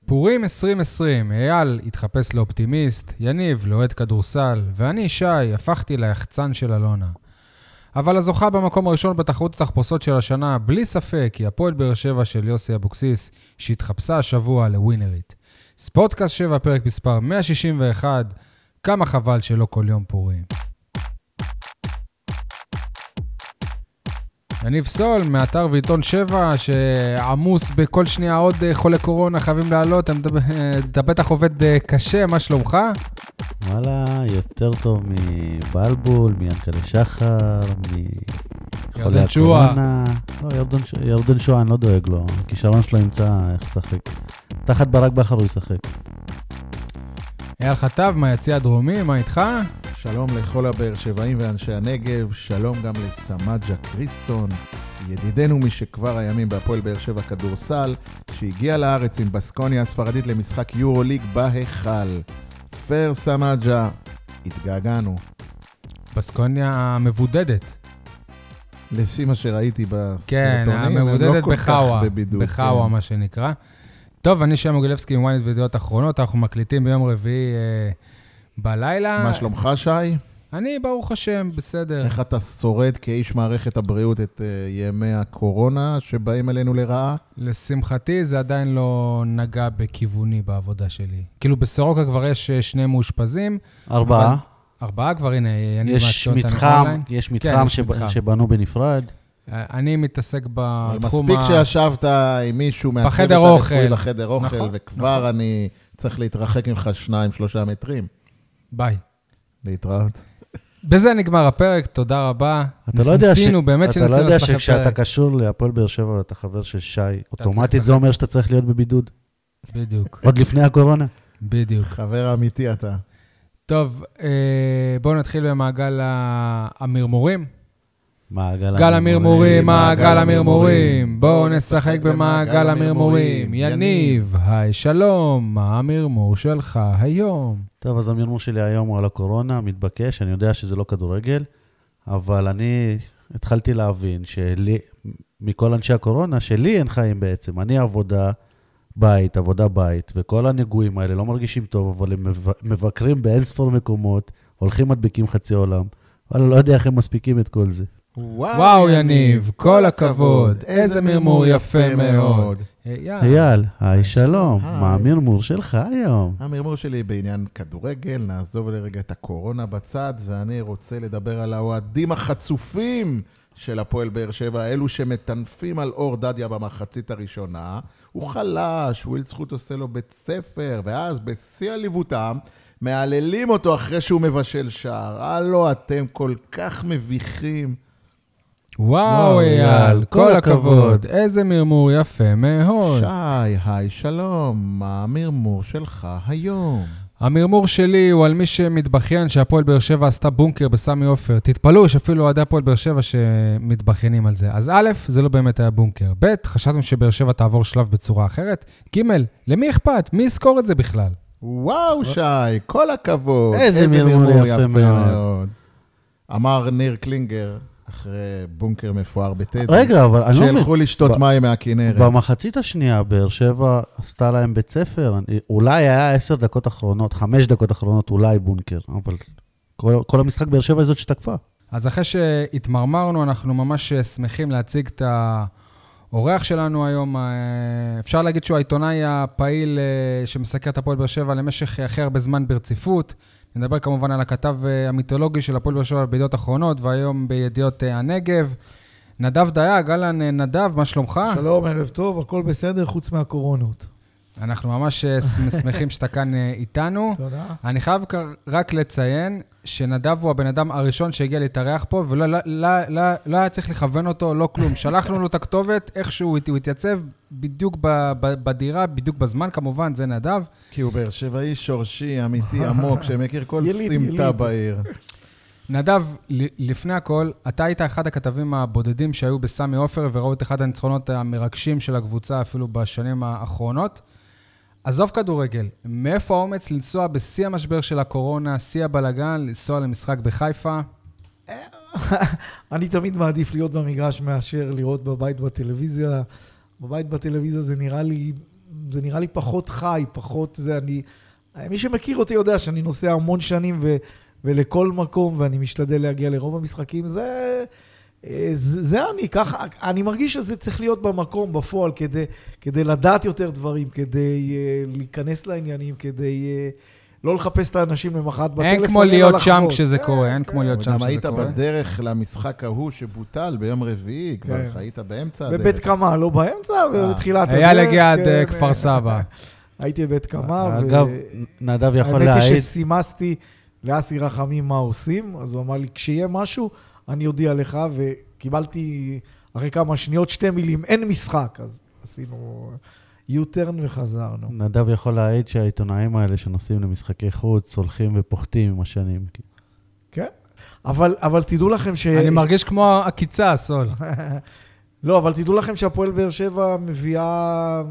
סיפורים 2020, אייל התחפש לאופטימיסט, יניב לאוהד כדורסל, ואני, שי, הפכתי ליחצן של אלונה. אבל הזוכה במקום הראשון בתחרות התחפושות של השנה, בלי ספק, היא הפועל באר שבע של יוסי אבוקסיס, שהתחפשה השבוע לווינרית. ספורטקאסט 7, פרק מספר 161, כמה חבל שלא כל יום פורים. יניב סול, מאתר ועיתון 7, שעמוס בכל שנייה עוד אה, חולה קורונה, חייבים לעלות, אתה מדבר- אה, אתה בטח עובד אה, קשה, מה שלומך? וואלה, יותר טוב מבלבול, מיענקלה שחר, מחולי ירדן שועה. הקורונה. לא, ירדן ש- ירדן שואה, אני לא דואג לו. הכישרון שלו ימצא איך לשחק. תחת ברק בכר הוא ישחק. אייל חטב מהיציע הדרומי, מה איתך? שלום לכל הבאר שבעים ואנשי הנגב, שלום גם לסמג'ה קריסטון, ידידנו משכבר הימים בהפועל באר שבע כדורסל, שהגיע לארץ עם בסקוניה הספרדית למשחק יורוליג בהיכל. פר סמג'ה, התגעגענו. בסקוניה המבודדת. לפי מה שראיתי בסרטונים, כן, הם לא המבודדת כל בחאווה, כך בבידוד. בחאווה כן. מה שנקרא. טוב, אני שם מוגילבסקי עם ynet וידיעות אחרונות, אנחנו מקליטים ביום רביעי אה, בלילה. כן. לא. מה שלומך, שי? אני, ברוך השם, בסדר. איך אתה שורד כאיש מערכת הבריאות את אה, ימי הקורונה שבאים עלינו לרעה? לשמחתי, זה עדיין לא נגע בכיווני בעבודה שלי. כאילו, בסורוקה כבר יש אה, שני מאושפזים, ארבעה. ארבעה כבר, הנה, אני יש מעדכן אותנו מתחם, אונליין. יש מתחם כן, יש שב- מתחם. שבנו בנפרד. אה, אני מתעסק אבל בתחום מספיק שישבת עם מישהו מהצוות בחדר הרפואי אוכל. בחדר אוכל, נכון, נכון. וכבר אני צריך להתרחק ממך שניים, שלושה מטרים. ביי. להתראות. בזה נגמר הפרק, תודה רבה. אתה לא יודע, ש... ניסינו, באמת אתה לא שניסינו יודע לעשות לכם שכשאתה פרק. קשור להפועל באר שבע ואתה חבר של שי, צריך אוטומטית זה אומר שאתה צריך להיות בבידוד, בדיוק, עוד לפני הקורונה. בדיוק. חבר אמיתי אתה. טוב, אה, בואו נתחיל במעגל ה- המרמורים. מעגל גל המרמורים, מעגל מעגל המרמורים. המרמורים. בואו נשחק במעגל המרמורים. יניב, היי שלום, מה המרמור שלך היום? טוב, אז המרמור שלי היום הוא על הקורונה, מתבקש, אני יודע שזה לא כדורגל, אבל אני התחלתי להבין שלי, מכל אנשי הקורונה, שלי אין חיים בעצם. אני עבודה בית, עבודה בית, וכל הנגועים האלה לא מרגישים טוב, אבל הם מב- מבקרים באין ספור מקומות, הולכים מדביקים חצי עולם, אבל לא יודע איך הם מספיקים את כל זה. וואו, יניב, כל הכבוד, איזה מרמור יפה מאוד. יאללה. אייל, אה, היי שלום, היי. מה המרמור שלך היום? המרמור שלי בעניין כדורגל, נעזוב לרגע את הקורונה בצד, ואני רוצה לדבר על האוהדים החצופים של הפועל באר שבע, אלו שמטנפים על אור דדיה במחצית הראשונה. הוא חלש, וויל זכות עושה לו בית ספר, ואז בשיא עליבותם, מהללים אותו אחרי שהוא מבשל שער. הלו, אתם כל כך מביכים. וואו, אייל, כל הכבוד, איזה מרמור יפה מאוד. שי, היי, שלום, מה המרמור שלך היום? המרמור שלי הוא על מי שמתבכיין שהפועל באר שבע עשתה בונקר בסמי עופר. תתפלאו, יש אפילו אוהדי הפועל באר שבע שמתבכיינים על זה. אז א', זה לא באמת היה בונקר. ב', חשבנו שבאר שבע תעבור שלב בצורה אחרת. ג', למי אכפת? מי יזכור את זה בכלל? וואו, שי, כל הכבוד. אה. איזה מרמור יפה מאוד. אמר ניר קלינגר, אחרי בונקר מפואר בטדי. רגע, אבל אני לא מבין. שילכו לשתות ב- מים מהכינרת. במחצית השנייה, באר שבע עשתה להם בית ספר. אני- אולי היה עשר דקות אחרונות, חמש דקות אחרונות, אולי בונקר, אבל כל, כל המשחק באר שבע היא זאת שתקפה. אז אחרי שהתמרמרנו, אנחנו ממש אה, שמחים להציג את האורח שלנו היום. אה, אפשר להגיד שהוא העיתונאי הפעיל אה, שמסקר את הפועל באר שבע למשך הכי הרבה זמן ברציפות. נדבר כמובן על הכתב אה, המיתולוגי של הפועל באר שבע בידיעות אחרונות, והיום בידיעות אה, הנגב. נדב דייג, אהלן אה, נדב, מה שלומך? שלום, ערב טוב, הכל בסדר חוץ מהקורונות. אנחנו ממש אה, שמ- שמחים שאתה כאן אה, איתנו. תודה. אני חייב כ- רק לציין שנדב הוא הבן אדם הראשון שהגיע להתארח פה, ולא לא, לא, לא, לא היה צריך לכוון אותו, לא כלום. שלחנו לו את הכתובת, איכשהו הוא הת- הוא התייצב בדיוק ב, ב, בדירה, בדיוק בזמן, כמובן, זה נדב. כי הוא באר שבעי שורשי, אמיתי, עמוק, שמכיר כל יליד, סמטה יליד. בעיר. נדב, ל- לפני הכל, אתה היית אחד הכתבים הבודדים שהיו בסמי עופר וראו את אחד הניצחונות המרגשים של הקבוצה אפילו בשנים האחרונות. עזוב כדורגל, מאיפה האומץ לנסוע בשיא המשבר של הקורונה, שיא הבלגן, לנסוע למשחק בחיפה? אני תמיד מעדיף להיות במגרש מאשר לראות בבית בטלוויזיה. בבית בטלוויזיה זה נראה לי זה נראה לי פחות חי, פחות זה, אני... מי שמכיר אותי יודע שאני נוסע המון שנים ו, ולכל מקום, ואני משתדל להגיע לרוב המשחקים, זה... אה, זה זה אני, ככה, אני מרגיש שזה צריך להיות במקום, בפועל, כדי, כדי לדעת יותר דברים, כדי uh, להיכנס לעניינים, כדי uh, לא לחפש את האנשים למחרת בטלפון, אין כמו אלא להיות שם לחוות. כשזה כן, קורה, אין כן. כמו להיות שם גם כשזה היית קורה. בדרך למשחק ההוא שבוטל ביום רביעי, כן. כבר היית אה, באמצע הדרך. בבית קמה, לא באמצע, ובתחילת הדרך. אייל הגיע עד כן, אה, כפר סבא. הייתי בבית קמה, ו... אה, אגב, נדב יכול אה, האמת היא להעיד, שסימסתי לאסי רחמים מה עושים, אז הוא אמר לי, כשיהיה משהו, אני אודיע לך, וקיבלתי אחרי כמה שניות שתי מילים, אין משחק, אז עשינו U-turn וחזרנו. נדב יכול להעיד שהעיתונאים האלה שנוסעים למשחקי חוץ הולכים ופוחתים עם השנים. כן. אבל, אבל תדעו לכם ש... אני מרגיש כמו עקיצה, סול. לא, אבל תדעו לכם שהפועל באר שבע מביאה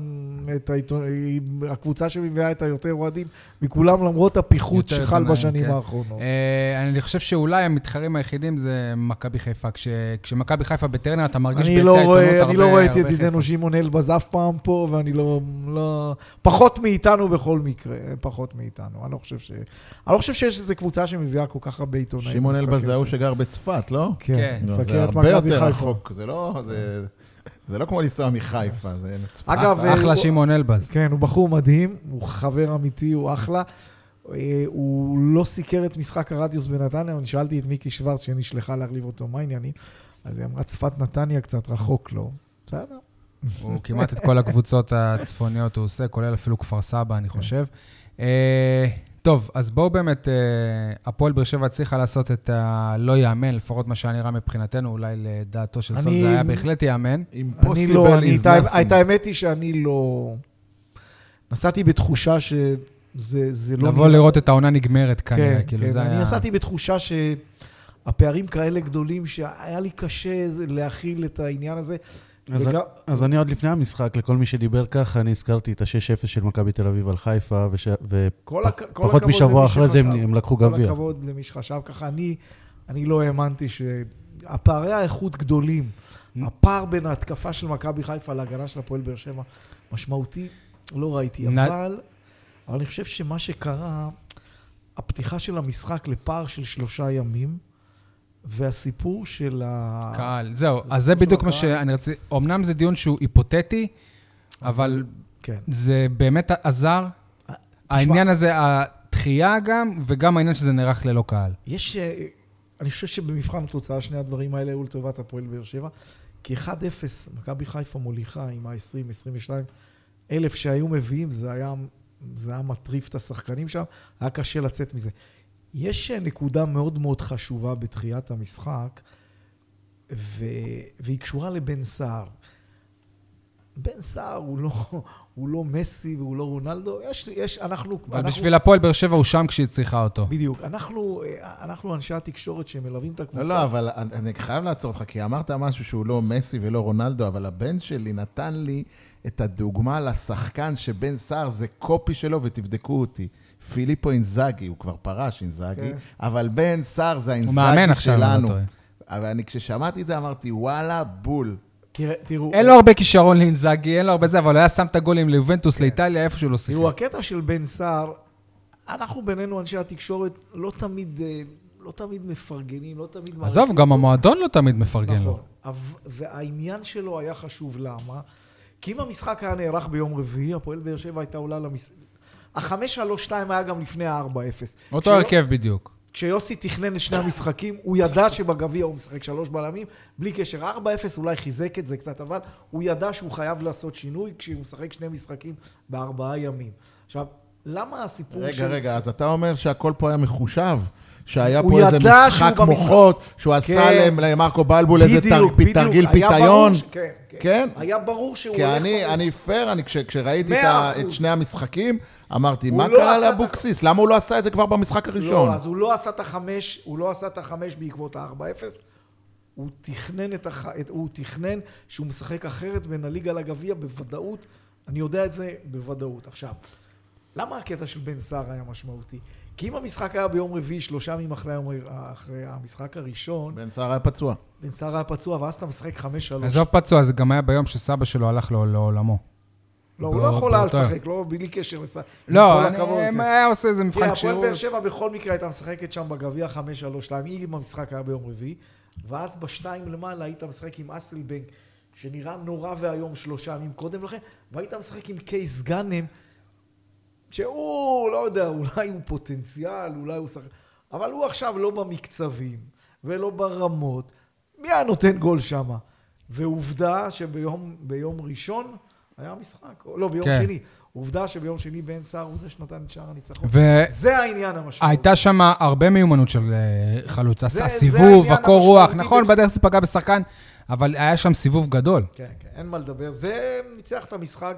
אה, את העיתון... היא הקבוצה שמביאה את היותר אוהדים מכולם, למרות הפיחות יותר שחל עיתונאים, בשנים כן. האחרונות. אה, אני חושב שאולי המתחרים היחידים זה מכבי חיפה. כש- כשמכבי חיפה בטרנר, אתה מרגיש אני ביציע לא, העיתונות רואה, הרבה אני לא רואה את הרבה ידידנו חיפה. שמעון אלבז אף פעם פה, ואני לא, לא... פחות מאיתנו בכל מקרה, אה, פחות מאיתנו. אני לא חושב ש... אני לא חושב שיש איזו קבוצה שמביאה כל כך הרבה עיתונאים. שמעון למשחקים. אלבז זה ההוא שגר בצפת, לא? כן, כן, לא, משחקי זה את הרבה מכבי יותר חיפה. רחוק, זה לא, זה, זה לא כמו לנסוע מחיפה, זה צפת. אגב, אה, אה, אחלה שמעון אלבז. כן, הוא בחור מדהים, הוא חבר אמיתי, הוא אחלה. אה, הוא לא סיקר את משחק הרדיוס בנתניה, אני שאלתי את מיקי שוורץ שנשלחה להחליף אותו, מה העניינים? אז היא אמרה, צפת נתניה קצת רחוק לו. בסדר. הוא כמעט את כל הקבוצות הצפוניות הוא עושה, כולל אפילו כפר סבא, אני חושב. אה, טוב, אז בואו באמת, אה, הפועל באר שבע הצליחה לעשות את הלא ייאמן, לפחות מה שהיה נראה מבחינתנו, אולי לדעתו של סול אני- זה היה בהחלט ייאמן. אני impossible לא, אני, is את, האמת- nothing. את האמת היא שאני לא... נסעתי בתחושה שזה זה לא... לבוא לראות את העונה נגמרת כנראה, כן, כאילו כן, זה אני היה... נסעתי בתחושה שהפערים כאלה גדולים, שהיה לי קשה זה- להכיל את העניין הזה. אז וגם- אז אני עוד לפני המשחק, לכל מי שדיבר ככה, אני הזכרתי את ה-6-0 של מכבי תל אביב על חיפה, וש- כל הכ- כל ופחות הכבוד משבוע למי אחרי זה הם- שחשב. הם לקחו כל גביע. הכבוד למי שחשב ככה. אני, אני לא האמנתי שהפערי האיכות גדולים. הפער בין ההתקפה של מכבי חיפה להגנה של הפועל באר שבע משמעותי, לא ראיתי. נ- אבל, אבל אני חושב שמה שקרה, הפתיחה של המשחק לפער של שלושה ימים, והסיפור של ה... קהל, זהו. זה אז זה סיפור של בדיוק מה הקהל. שאני רציתי... אמנם זה דיון שהוא היפותטי, אבל כן. זה באמת עזר. העניין הזה, הדחייה גם, וגם העניין שזה נערך ללא קהל. יש... אה, אני חושב שבמבחן התוצאה שני הדברים האלה היו לטובת הפועל באר שבע. כי 1-0, מכבי חיפה מוליכה עם ה-20, 22 אלף שהיו מביאים, זה היה, זה היה מטריף את השחקנים שם, היה קשה לצאת מזה. יש אה, נקודה מאוד מאוד חשובה בתחילת המשחק, ו... והיא קשורה לבן סער. בן סער הוא לא, הוא לא מסי והוא לא רונלדו, יש, יש, אנחנו... אבל אנחנו- בשביל הפועל באר שבע הוא שם כשהיא צריכה אותו. בדיוק. אנחנו, אה, אנחנו אנשי התקשורת שמלווים את הקבוצה. לא, לא, אבל אני אני חייב לעצור אותך, כי אמרת משהו שהוא לא מסי ולא רונלדו, אבל הבן שלי נתן לי את הדוגמה לשחקן שבן סער זה קופי שלו, ותבדקו אותי. פיליפו אינזאגי, הוא כבר פרש אינזאגי, כן. אבל בן סער זה הוא מאמן האינזאגי עכשיו, אני לא שלנו. טועה. אבל אני, כששמעתי את זה אמרתי, וואלה, בול. תראה- תראו, אין לו הרבה כישרון לאינזאגי, אין לו הרבה זה, אבל הוא היה שם את הגולים ליובנטוס, לאיטליה, איפה שהוא לא שיחק. כן. תראו, הקטע של בן סער, אנחנו בינינו, אנשי התקשורת, לא תמיד, אה, לא תמיד מפרגנים, לא תמיד... עזוב, גם המועדון לא תמיד מפרגן לו. נכון. אב- והעניין שלו היה חשוב, למה? כי אם המשחק היה נערך ביום רביעי, הפועל באר שבע הייתה עולה למס... החמש שלוש שתיים היה גם לפני הארבע אפס. אותו הרכב בדיוק. כשיוסי תכנן את שני המשחקים, הוא ידע שבגביע הוא משחק שלוש בלמים, בלי קשר. 4-0 אולי חיזק את זה קצת, אבל הוא ידע שהוא חייב לעשות שינוי כשהוא משחק שני משחקים בארבעה ימים. עכשיו, למה הסיפור של... רגע, רגע, אז אתה אומר שהכל פה היה מחושב? שהיה הוא פה איזה ידע משחק שהוא במשחק. מוחות, שהוא עשה כן. להם- למרקו בלבול איזה תר- בדיוק, פי- בדיוק. תרגיל היה פיתיון? ברור ש- כן, כן? כן. היה ברור שהוא כי הולך... אני, פה- אני פייר, אני, כש, כשראיתי את, מאה ה- אחוז. את שני המשחקים, אמרתי, הוא מה לא קרה עשה את לאבוקסיס? למה הוא לא עשה את זה כבר במשחק הראשון? לא, אז הוא לא עשה את החמש, הוא לא עשה את החמש בעקבות ה-4-0. הוא תכנן את הח... את... הוא תכנן שהוא משחק אחרת בין הליגה לגביע בוודאות. אני יודע את זה בוודאות. עכשיו, למה הקטע של בן סער היה משמעותי? כי אם המשחק היה ביום רביעי, שלושה ימים אחרי, היום... אחרי המשחק הראשון, בן סער היה פצוע. בן סער היה פצוע, ואז אתה משחק חמש שלוש. עזוב פצוע, זה גם היה ביום שסבא שלו הלך לו לעולמו. לא, הוא לא בא- יכול היה באותה- לשחק, לא בלי קשר לשחק. לא, עם כל הכבוד, אני- כן. היה עושה איזה תראה, מבחן הפועל שיעור. באר שבע בכל מקרה הייתה משחקת שם בגביע 5-3-2, אם המשחק היה ביום רביעי, ואז בשתיים למעלה היית משחק עם אסלבנק, שנראה נורא ואיום שלושה ימים קודם לכן, והיית משחק עם קייס גאנם, שהוא, לא יודע, אולי הוא פוטנציאל, אולי הוא שחק... אבל הוא עכשיו לא במקצבים, ולא ברמות. מי היה נותן גול שם? ועובדה שביום ביום ראשון היה משחק, או לא, ביום כן. כן. שני. עובדה שביום שני בן סער הוא זה שנתן את שער הניצחון. והייתה זה העניין המשמעותי. שם הרבה מיומנות של אה, חלוץ. זה עשה סיבוב, העניין הקור רוח, המשמעותי נכון, בק- בדרך זה פגע בשחקן, אבל היה שם סיבוב גדול. כן, כן, אין מה לדבר. זה ניצח את המשחק,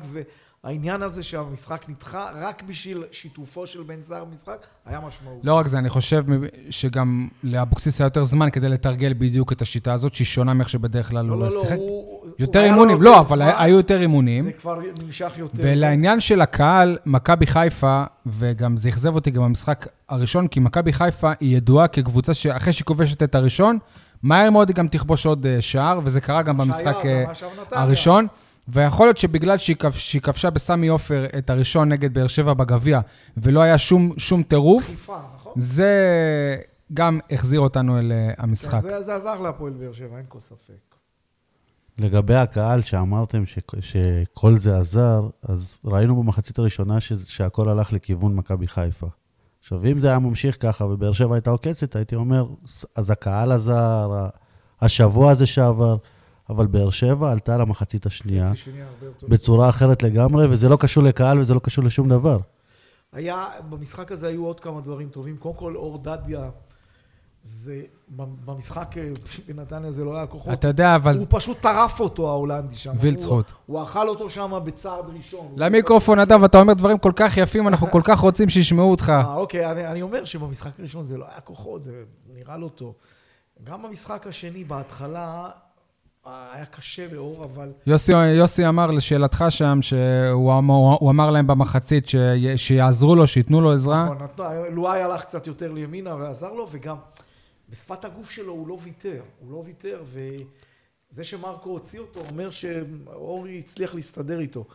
והעניין הזה שהמשחק נדחה רק בשביל שיתופו של בן סער במשחק, היה משמעותי. לא רק זה, אני חושב שגם לאבוקסיס היה יותר זמן כדי לתרגל בדיוק את השיטה הזאת, שהיא שונה מאיך שבדך כלל הוא שיחק. לא, הוא- יותר הוא היה לו אימונים, יותר לא, אבל זמן, היה- היו יותר אימונים. זה כבר נמשך יותר. ולעניין של הקהל, מכבי חיפה, וגם זה אכזב אותי גם במשחק הראשון, כי מכבי חיפה היא ידועה כקבוצה שאחרי שהיא כובשת את הראשון, מהר מאוד היא גם תכבוש עוד אה, שער, וזה קרה גם מה במשחק שהיה, אה, זה מה שהיה בנתניה. הראשון. ויכול להיות שבגלל שהיא כבש- שהיא כבשה בסמי עופר את הראשון נגד באר שבע בגביע, ולא היה שום, שום טירוף, חיפה, נכון? זה גם החזיר אותנו אל אה, המשחק. כן, זה- זה עזר להפועל באר שבע, אין כל ספק. לגבי הקהל שאמרתם ש, שכל זה עזר, אז ראינו במחצית הראשונה ש, שהכל הלך לכיוון מכבי חיפה. עכשיו, אם זה היה ממשיך ככה ובאר שבע הייתה עוקצת, הייתי אומר, "ס- אז הקהל עזר, ה- השבוע הזה שעבר, אבל באר שבע עלתה למחצית אה. השנייה חצי שנייה הרבה יותר. בצורה אחרת לגמרי, וזה לא קשור לקהל וזה לא קשור לשום דבר. היה, במשחק הזה היו עוד כמה דברים טובים. קודם כל, אור דדיה, זה, במשחק אה, בנתניה זה לא היה כוחות. אתה יודע, אבל הוא פשוט טרף אותו, ההולנדי שם. וילצחוט. הוא, הוא אכל אותו שם בצעד ראשון. למיקרופון, אדם, אתה אומר דברים כל כך יפים, אנחנו כל כך רוצים שישמעו אותך. אה, אוקיי, אני, אני אומר שבמשחק הראשון זה לא היה כוחות, זה נראה לא טוב. גם במשחק השני, בהתחלה, אה, היה קשה לאור, אבל... יוסי, יוסי אמר לשאלתך שם, שהוא אמר, הוא אמר להם במחצית ש, שיעזרו לו, שייתנו לו עזרה. נכון, נתנו- לואי הלך קצת יותר לימינה ועזר לו, וגם בשפת הגוף שלו הוא לא ויתר, הוא לא ויתר, וזה שמרקו הוציא אותו אומר שאורי הצליח להסתדר איתו.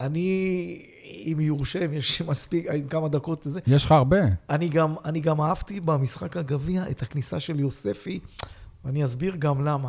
אני, אם יורשה, אם יש מספיק, עם כמה דקות לזה, יש לך הרבה. אני גם, אני גם אהבתי במשחק הגביע את הכניסה של יוספי, ואני אסביר גם למה.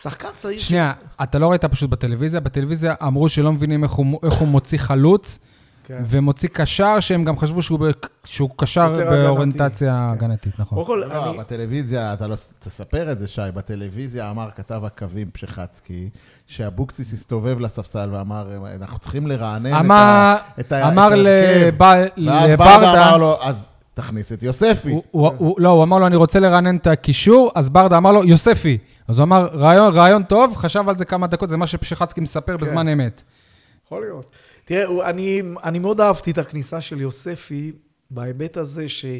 שחקן צעיר... שנייה, אתה לא ראית פשוט בטלוויזיה? בטלוויזיה אמרו שלא מבינים איך הוא, איך הוא מוציא חלוץ, כן. ומוציא קשר, שהם גם חשבו שהוא, ב- שהוא קשר יותר הגנתי. כן. באוריינטציה הגנתית, נכון. קודם כל, לא, אני... בטלוויזיה, אתה לא... תספר את זה, שי. בטלוויזיה אמר כתב הקווים פשחצקי, שאבוקסיס הסתובב לספסל ואמר, אנחנו צריכים לרענן את אמר- ה- את ה... אמר את ההרכב." לב- ואז לברדה- ברדה אמר לו, אז תכניס את יוספי. הוא, הוא, הוא, לא, הוא אמר לו, אני רוצה לרענן את הקישור, אז ברדה אמר לו, יוספי. אז הוא אמר, רעיון, רעיון טוב, חשב על זה כמה דקות, זה מה שפשחצקי כן. מספר בזמן אמת. יכול להיות. תראה, הוא- אני, אני מאוד אהבתי את הכניסה של יוספי בהיבט הזה שהוא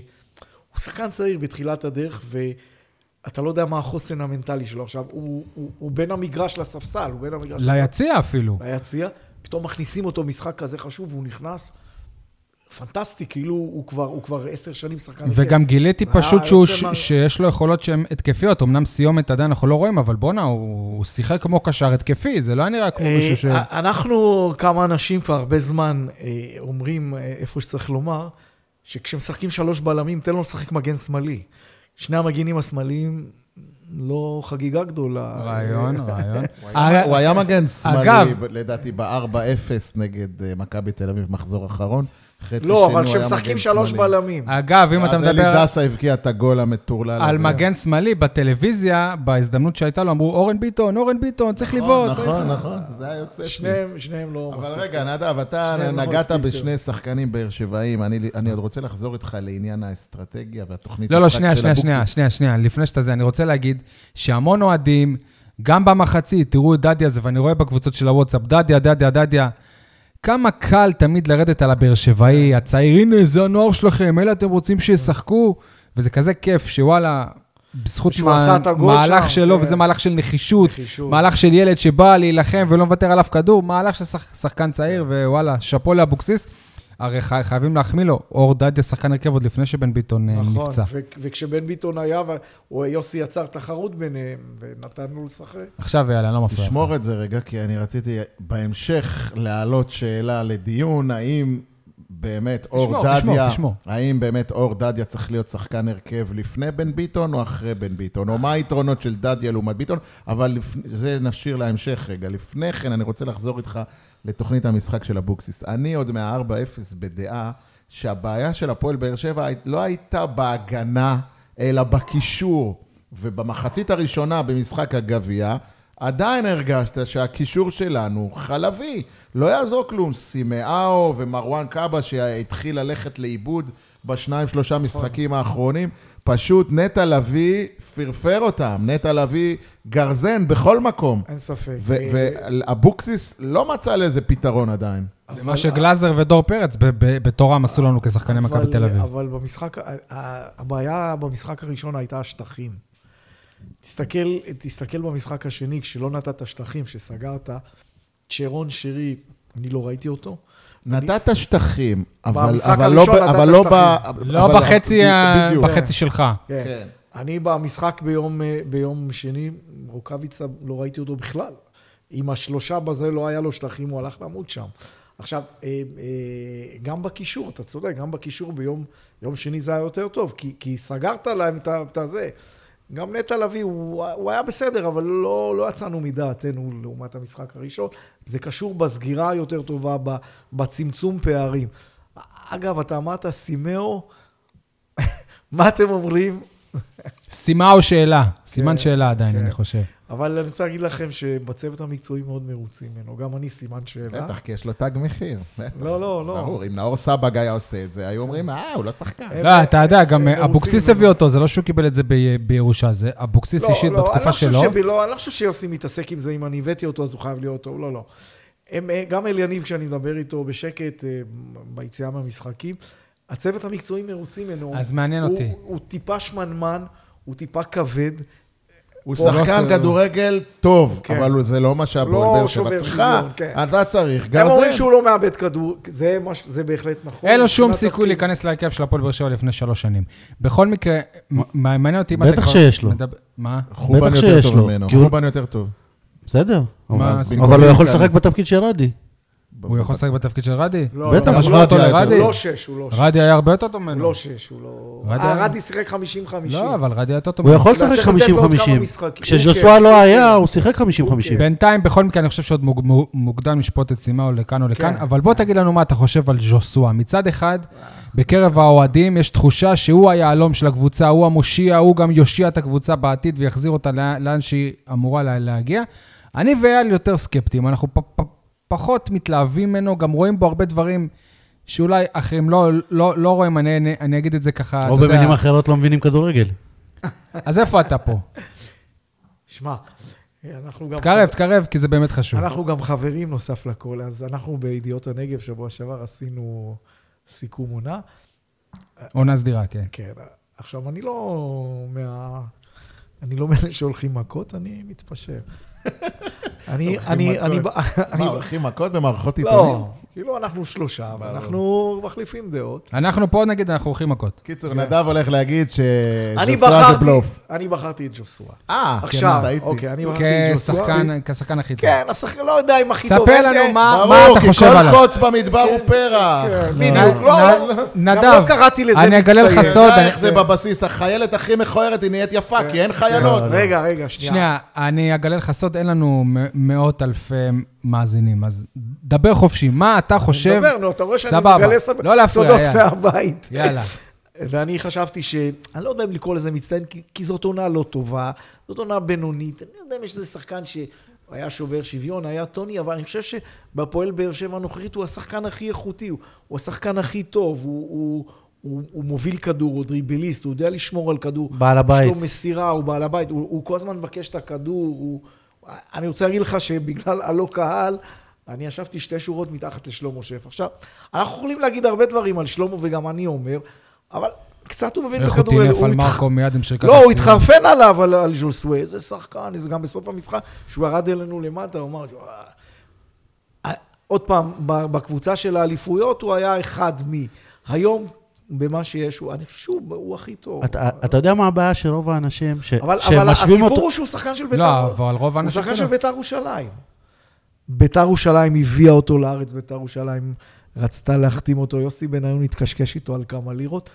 שחקן צעיר בתחילת הדרך, ואתה לא יודע מה החוסן המנטלי שלו. עכשיו, הוא, הוא, הוא בין המגרש לספסל, הוא בין המגרש לא. ליציע כן, אפילו. ליציע, פתאום מכניסים אותו משחק כזה חשוב, והוא נכנס. פנטסטי, כאילו הוא כבר, הוא כבר עשר שנים שחקן... כן. הרכב. וגם גיליתי אה, והיה פשוט שהוא, יוצא ש- מה- שיש לו יכולות שהן התקפיות. אמנם סיומת עדיין אנחנו לא רואים, אבל בואנה, הוא הוא שיחק כמו קשר התקפי, זה לא היה נראה כמו אה, מישהו ש... אנחנו, כמה אנשים כבר הרבה זמן אה, אומרים, אה, איפה שצריך לומר, שכשמשחקים שלוש בלמים, תן לו לשחק מגן שמאלי. שני המגינים השמאליים, לא חגיגה גדולה. אה, רעיון, רעיון. הוא היה מגן אגב- שמאלי, ב- לדעתי, ב-4-0 נגד אה, מכבי תל אביב, מחזור אחרון. חצי לא, שני אבל הוא היה כשמשחקים מגן שלוש שמאלי. אה, בלמים. אה, אגב, אם אתה אז מדבר אלי דסה הבקיע את הגול המטורלל הזה. על מגן שמאלי, בטלוויזיה, בהזדמנות שהייתה לו, אמרו, אורן ביטון, אורן ביטון, צריך לבעוט, צריך... נכון, נכון, זה היה יוספי. שניהם, שניהם לא אבל מספיק. רגע, נדב, אתה שניהם לא נגעת מספיק בשני שחקנים באר שבעים, אני- אני עוד רוצה לחזור איתך לעניין האסטרטגיה והתוכנית לא, לא, משחק שנייה, של שנייה, אבוקסיס. שנייה, שנייה, שנייה, לפני שאתה זה, אני רוצה להגיד שהמון אוהדים, גם במחצית, תראו את דדיה הזה, ואני רואה בקבוצות של הוואטסאפ, דדיה, דדיה, דדיה. כמה קל תמיד לרדת על הבאר שבעי, כן. הצעיר, הנה, זה הנוער שלכם, אלה אתם רוצים שישחקו, וזה כזה כיף, שוואלה, בזכות שהוא עשה את הגול מהלך שם, שלו, כן. וזה מהלך של נחישות, נחישות. מהלך של ילד שבא להילחם ולא מוותר על אף כדור, מהלך של שח- שחקן צעיר, ווואלה, שאפו לאבוקסיס. הרי חי- חייבים להחמיא לו, אור דדיה שחקן הרכב עוד לפני שבן ביטון אה, נכון, נפצע. ו- וכשבן ביטון היה, ו- הוא- יוסי יצר תחרות ביניהם, ונתנו לשחק. עכשיו, יאללה, אני לא מפריע. תשמור את זה רגע, כי אני רציתי בהמשך להעלות שאלה לדיון, האם באמת תשמור, אור תשמור, דדיה, תשמור. האם באמת אור דדיה צריך להיות שחקן הרכב לפני בן ביטון או אחרי בן ביטון, או מה היתרונות של דדיה לעומת ביטון, אבל לפני, זה נשאיר להמשך רגע. לפני כן, אני רוצה לחזור איתך לתוכנית המשחק של אבוקסיס. אני עוד מה-4-0 בדעה שהבעיה של הפועל באר שבע לא הייתה בהגנה, אלא בקישור. ובמחצית הראשונה במשחק הגביע, עדיין הרגשת שהקישור שלנו חלבי. לא יעזור כלום, סימאו ומרואן קאבה שהתחיל ללכת לאיבוד בשניים, נכון. שלושה משחקים האחרונים. פשוט נטע לביא פרפר אותם, נטע לביא גרזן בכל מקום. אין ספק. אה, ואבוקסיס לא מצא לזה פתרון עדיין. זה מה שגלאזר ודור פרץ ב- ב- בתורם עשו לנו כשחקני אבל- מכבי תל אביב. אבל במשחק, ה- ה- הבעיה במשחק הראשון הייתה השטחים. תסתכל, תסתכל במשחק השני, כשלא נתת שטחים, שסגרת, צ'רון שירי, אני לא ראיתי אותו. נתת שטחים, אבל במשחק אבל לא ב- הראשון נתת אבל לא ב... שטחים. לא אבל- בחצי ה- בדיוק. בחצי שלך. כן. אני במשחק ביום, אה, ביום שני, רוקאביצה, לא ראיתי אותו בכלל. עם השלושה בזה לא היה לו שטחים, הוא הלך למות שם. עכשיו, אה, אה, גם בקישור, אתה צודק, גם בקישור ביום יום שני זה היה יותר טוב, כי, כי סגרת להם את ה- את הזה. גם נטע לביא, הוא, הוא היה בסדר, אבל לא, לא יצאנו מדעתנו לעומת המשחק הראשון. זה קשור בסגירה היותר טובה, ב- בצמצום פערים. אגב, אתה אמרת סימאו, מה אתם אומרים? סימה או שאלה? סימן כן, שאלה עדיין, כן. אני חושב. אבל אני רוצה להגיד לכם שבצוות המקצועי מאוד מרוצים ממנו, גם אני סימן שאלה. בטח, כי יש לו תג מחיר. בטח. לא, לא, לא. ברור, אם נאור סבג היה עושה את זה, היו אומרים, אה, הוא לא שחקן. הם- לא, אתה יודע, גם הם אה, אבוקסיס מרוצים הביא אותו, זה לא שהוא קיבל את זה ב- בירושה, זה אבוקסיס לא, אישית לא, אני בתקופה לא חושב שלו. שב- לא, אני לא חושב שיוסי מתעסק עם זה, אם אני הבאתי אותו אז הוא חייב להיות טוב, לא, לא. הם, אה, גם אל יניב, כשאני מדבר איתו בשקט אה, ביציאה מהמשחקים, הצוות המקצועי מרוצים ממנו. אז מעניין הוא- אותי. הוא טיפה שמנמן, הוא טיפה כבד. הוא פה לא שחקן עושה- כדורגל טוב, כן. אבל הוא- זה לא מה לא שהפועל באר שבע שובר צריכה. שוויון, כן. אתה צריך הם אומרים גרזן. שהוא לא מאבד כדור, זה מה ש- זה בהחלט נכון. אין לו שום מבחינת סיכוי תפקיד. להיכנס להרכב של הפועל באר שבע לפני שלוש שנים. בכל מקרה, מ- מעניין אותי אם אתה בטח כבר שיש לו. מדבר- מה? חובן בטח יותר שיש טוב לו, ממנו. כי הוא- חובן יותר טוב. בסדר. מה אבל- הסיכוי אבל הוא יכול להיכנס? לשחק בתפקיד של רדי. הוא יכול לשחק בתפקיד של רדי? לא, בטח, לא, משווה לא, אותו הוא לרדי. לא שש, הוא לא שש. רדי היה הרבה יותר טוב הוא ממנו. לא שש, הוא לא... רדי אה, היה- רדי שיחק 50-50. לא, אבל רדי היה יותר טוב הוא ממנו. יכול אתה לשחק צריך לתת לו עוד כמה 50-50. משחקים. אוקיי. כשז'וסואה הוא לא כן. היה, הוא שיחק 50-50. בינתיים, בכל מקרה, אני חושב שעוד מוג- מו- מוקדם לשפוט את סימה או לכאן או לכאן, כן. אבל בוא תגיד לנו מה אתה חושב על ז'וסואה. מצד אחד, בקרב האוהדים יש תחושה שהוא היהלום של הקבוצה, הוא המושיע, הוא גם יושיע את הקבוצה בעתיד ויחזיר אותה לאן לאן שהיא אמורה לה- להגיע. אני ואייל יותר סקפטיים, אנחנו פ- פ- פחות מתלהבים ממנו, גם רואים בו הרבה דברים שאולי אחרים לא- לא לא רואים, אני- אני אני אגיד את זה ככה, או אתה יודע. במילים אחרות לא מבינים כדורגל. אז איפה אתה פה? שמע, אנחנו גם... תקרב, תקרב, כי זה באמת חשוב. אנחנו גם חברים נוסף לכל, אז אנחנו בידיעות הנגב שבוע שעבר עשינו סיכום עונה. עונה סדירה, כן. כן, עכשיו, אני לא מה... אני לא מאלה שהולכים מכות, אני מתפשר. אני, אני, אני, מכות. אני, מה, הולכים מכות במערכות עיתונים? לא, כאילו אנחנו שלושה, אבל ברור. אנחנו מחליפים דעות. אנחנו פה נגיד, אנחנו הולכים מכות. קיצור, נדב הולך להגיד כן. אה, אני שזוסרה זה בחרתי, בלוף. אני בחרתי את ג'וסואה. אה, עכשיו, טעיתי. אוקיי, אני בחרתי את ג'וסואה. כשחקן, כן, כשחקן הכי טוב. כן, השחקן לא יודע אם הכי טוב. אה, ספר אין- לנו אין- מה מה ברור, אתה כי חושב כל עליו. קוץ במדבר הוא פרח. כן, נ- בדיוק, לא, אה, נ- לא, נדב, גם לא קראתי לזה אני אגלה לך מצטיין. סוד, אתה יודע אני- איך זה בבסיס, החיילת הכי מכוערת היא נהיית כן. יפה, כי אין חיילות. רגע, רגע, שנייה. לא, שנייה, אני אגלה לך סוד, אין לנו מ- מאות אלפי מאזינים, אז דבר חופשי. מה אתה חושב? דבר, נו, אתה רואה שאני סבבה. מגלה לא להפריע, סודות יאללה. מהבית. יאללה. ואני חשבתי ש... אני לא יודע אם לקרוא לזה מצטיין, כי, כי זאת עונה לא טובה, זאת עונה בינונית. אני לא יודע אם יש איזה שחקן שהיה שובר שוויון, היה טוני, אבל אני חושב שבפועל באר שבע הנוכחית הוא השחקן הכי איכותי, הוא, הוא השחקן הכי טוב, הוא, הוא, הוא, הוא מוביל כדור, הוא דריבליסט, הוא יודע לשמור על כדור. בעל הבית. יש לו מסירה, הוא בעל הבית, הוא, הוא כל הזמן מבקש את הכדור, הוא... אני רוצה להגיד לך שבגלל הלא קהל, אני ישבתי שתי שורות מתחת לשלמה שף. עכשיו, אנחנו יכולים להגיד הרבה דברים על שלמה, וגם אני אומר, אבל קצת הוא מבין איך הוא בכדורגל. טינף על התח- מרקו מיד עם שריקת לא, הוא הסיום. התחרפן עליו, על, על ז'וסווה, איזה שחקן, איזה גם בסוף המשחק, שהוא ירד אלינו למטה, הוא אמר, "אה, עוד פעם, ב- בקבוצה של האליפויות הוא היה אחד מי. היום, במה שיש, הוא- אני חושב שהוא הוא הכי טוב. אתה, אתה יודע מה הבעיה של רוב האנשים, ש, אבל, אבל שמשווים הסיפור אותו... הוא שהוא שחקן של בית"ר. לא, אבל רוב האנשים... הוא שחקן כן. של בית"ר ירושלים. בית"ר ירושלים הביאה אותו לארץ, בית"ר ירושלים רצתה להחתים אותו. יוסי בניון התקשקש איתו על כמה לירות,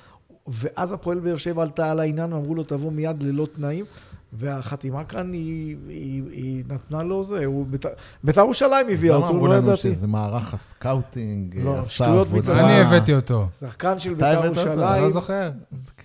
ואז הפועל באר שבע עלתה על העניין, ואמרו לו, תבוא מיד ללא תנאים, והחתימה כאן, היא, היא, היא נתנה לו זה. הוא בית"ר- בית"ר ירושלים הביאה למה אותו, אמרו לא לנו ידעתי. שזה מערך הסקאוטינג, אה, לא, עשה שטויות עבודה. מצד- אני הבאתי אותו. שחקן של אתה בית"ר הבאת אותו, אתה אתה לא ירושלים. זוכר?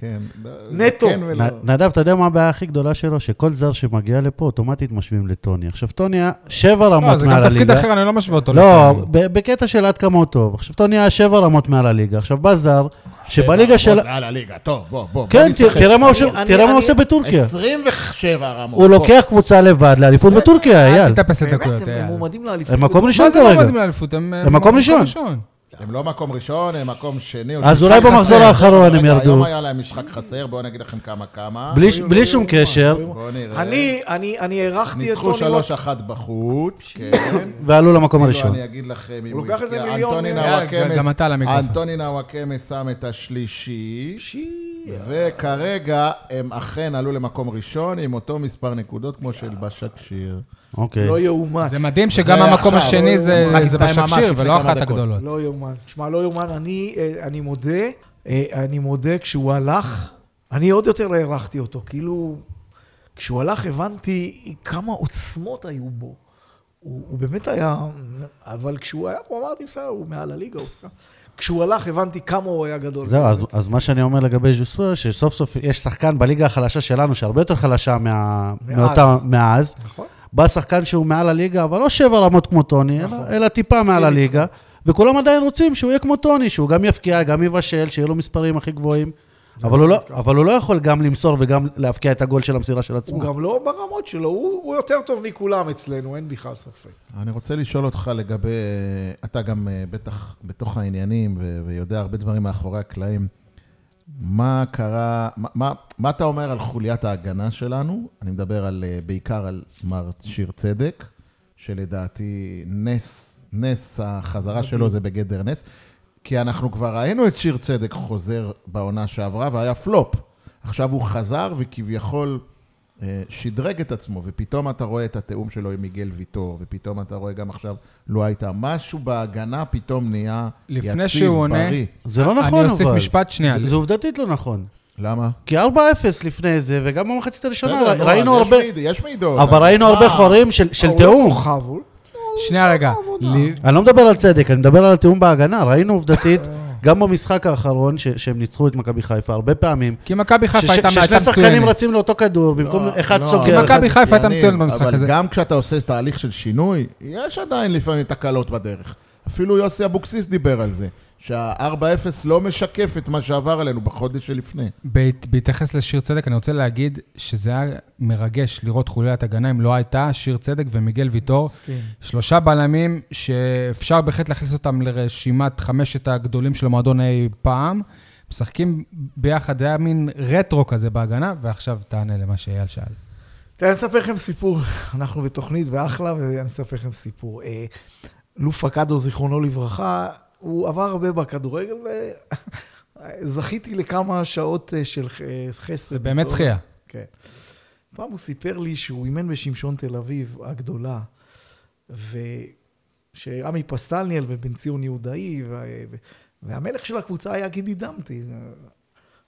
כן. לא, נטו. כן ולא. נ- נדב, אתה יודע מה הבעיה הכי גדולה שלו? שכל זר שמגיע לפה, אוטומטית משווים לטוני. עכשיו, טוני היה שבע רמות מעל הליגה. לא, זה גם תפקיד אחר, אני לא משווה אותו. לא, לטוני. ב- בקטע של עד כמה הוא טוב. עכשיו, טוני היה שבע רמות מעל הליגה. עכשיו, בא זר, שבליגה של... בוא, יאללה, ליגה, טוב, בוא, בוא, בוא כן, ת- נשחק. תראה מה הוא ש- אני- תראה מה אני- הוא עושה בטורקיה. 27 רמות. הוא לא- בוא. לוקח קבוצה לבד לאליפות בטורקיה, אל אייל. תתאפס באמת, לדקויות, הם- אייל. הם מועמדים לאליפות. הם מקום אה, מה אה, ראשון זה לא כרגע. מועמדים לאליפות? הם הם מקום ראשון. הם לא מקום ראשון, הם מקום שני. או אז שלישי. אולי במחזור חסר. האחרון הם רגע, היום ירדו. היה להם משחק חסר, בואו נגיד לכם כמה כמה. בלי ש- בלי שום קשר, בואו נראה. אני, אני, אני הערכתי את ניצחו טוני 3-1 בחוץ, כן. ועלו לא, למקום הראשון. אני אגיד לכם, אם הוא לוקח איזה הבקיע. מיליון אה, אה, אנטוני מ- יאללה, נאוואקמס- גם אתה על המיקרופון. אנטוני נאוואקמה שם את השלישי, שי- וכרגע הם אכן עלו למקום ראשון עם אותו מספר נקודות כמו של בשקשיר. אוקיי. לא יאומן. זה מדהים שגם זה המקום עכשיו, השני זה המשחק זה הסתיים ממש בשקשיר לפני ולא כמה אחת דקות. הגדולות. לא יאומן. שמע, לא יאומן. אני, אה, אני מודה, אה, אני מודה, כשהוא הלך, אני עוד יותר הערכתי אותו. כאילו, כשהוא הלך הבנתי כמה עוצמות היו בו. הוא, הוא באמת היה, אבל כשהוא היה פה אמרתי, בסדר, הוא מעל הליגה, הוא שחקן. כשהוא הלך הבנתי כמה הוא היה גדול. זהו, אז, אז מה שאני אומר לגבי ז'וסווה, שסוף סוף יש שחקן בליגה החלשה שלנו, שהרבה יותר חלשה מה... מאז. מאותה, מאז, נכון. בא שחקן שהוא מעל הליגה, אבל לא שבע רמות כמו טוני, נכון. אלא, אלא טיפה מעל הליגה, וכולם עדיין רוצים שהוא יהיה כמו טוני, שהוא גם יפקיע, גם יבשל, שיהיו לו מספרים הכי גבוהים, אבל הוא, לא, אבל הוא לא יכול גם למסור וגם להבקיע את הגול של המסירה של עצמו. הוא גם לא ברמות שלו, הוא, הוא יותר טוב מכולם אצלנו, אין בכלל ספק. אני רוצה לשאול אותך לגבי, אתה גם אה, בטח בתוך העניינים ו- ויודע הרבה דברים מאחורי הקלעים. מה קרה, מה- מה, מה אתה אומר על חוליית ההגנה שלנו? אני מדבר על, אה, בעיקר על מר שיר צדק, שלדעתי נס, נס החזרה שלו זה בגדר נס, כי אנחנו כבר ראינו את שיר צדק חוזר בעונה שעברה והיה פלופ. עכשיו הוא חזר וכביכול אה, שדרג את עצמו, ופתאום אתה רואה את התיאום שלו עם מיגל ויטור, ופתאום אתה רואה גם עכשיו, לא הייתה, משהו בהגנה פתאום נהיה יציב, בריא. לפני שהוא עונה, זה לא אני נכון, אבל. אוסיף משפט שנייה. זה, זה עובדתית לא נכון. למה? כי 4-0 לפני זה, וגם במחצית הראשונה בסדר, לא, ר- נו, ראינו אז יש הרבה, מעיד- יש מעידות. אה, אבל ראינו הרבה מה? חורים של, של הוא לא תיאום. כוכב, הוא- שנייה רגע. לי- אני לא מדבר על צדק, אני מדבר על התיאום בהגנה. ראינו עובדתית, גם במשחק האחרון, ש- שהם ניצחו את מכבי חיפה הרבה פעמים, כי מכבי ש- חיפה הייתה ש- ששני מעטה שחקנים מצוינת. רצים לאותו כדור, במקום אחד לא, סוגר. אבל- אחד- מכבי חיפה הייתה יניב, מצוינת במשחק הזה. אבל גם כשאתה עושה תהליך של שינוי, יש עדיין לפעמים תקלות בדרך. אפילו יוסי אבוקסיס דיבר על זה, שה-4-0 לא משקף את מה שעבר עלינו בחודש שלפני. בהת- בהתייחס לשיר צדק, אני רוצה להגיד שזה היה מרגש לראות חוליית הגנה, אם לא הייתה שיר צדק ומיגל ויטור. מסכים. שלושה בלמים שאפשר בהחלט להכניס אותם לרשימת חמשת הגדולים של המועדון אי פעם. משחקים ביחד, היה מין רטרו כזה בהגנה, ועכשיו תענה למה שאייל שאל. תראה, אני אספר לכם סיפור. אנחנו בתוכנית ואחלה, ואני אספר לכם סיפור. אה, לו פקדו, זיכרונו לברכה, הוא עבר הרבה בכדורגל, וזכיתי לכמה שעות אה, של ח- אה, חסד. זה באמת זכייה. כן. פעם הוא סיפר לי שהוא אימן בשמשון תל אביב הגדולה, ושעמי פסטלניאל ובן ציון יהודאי, וה... והמלך של הקבוצה היה גידי דמתי.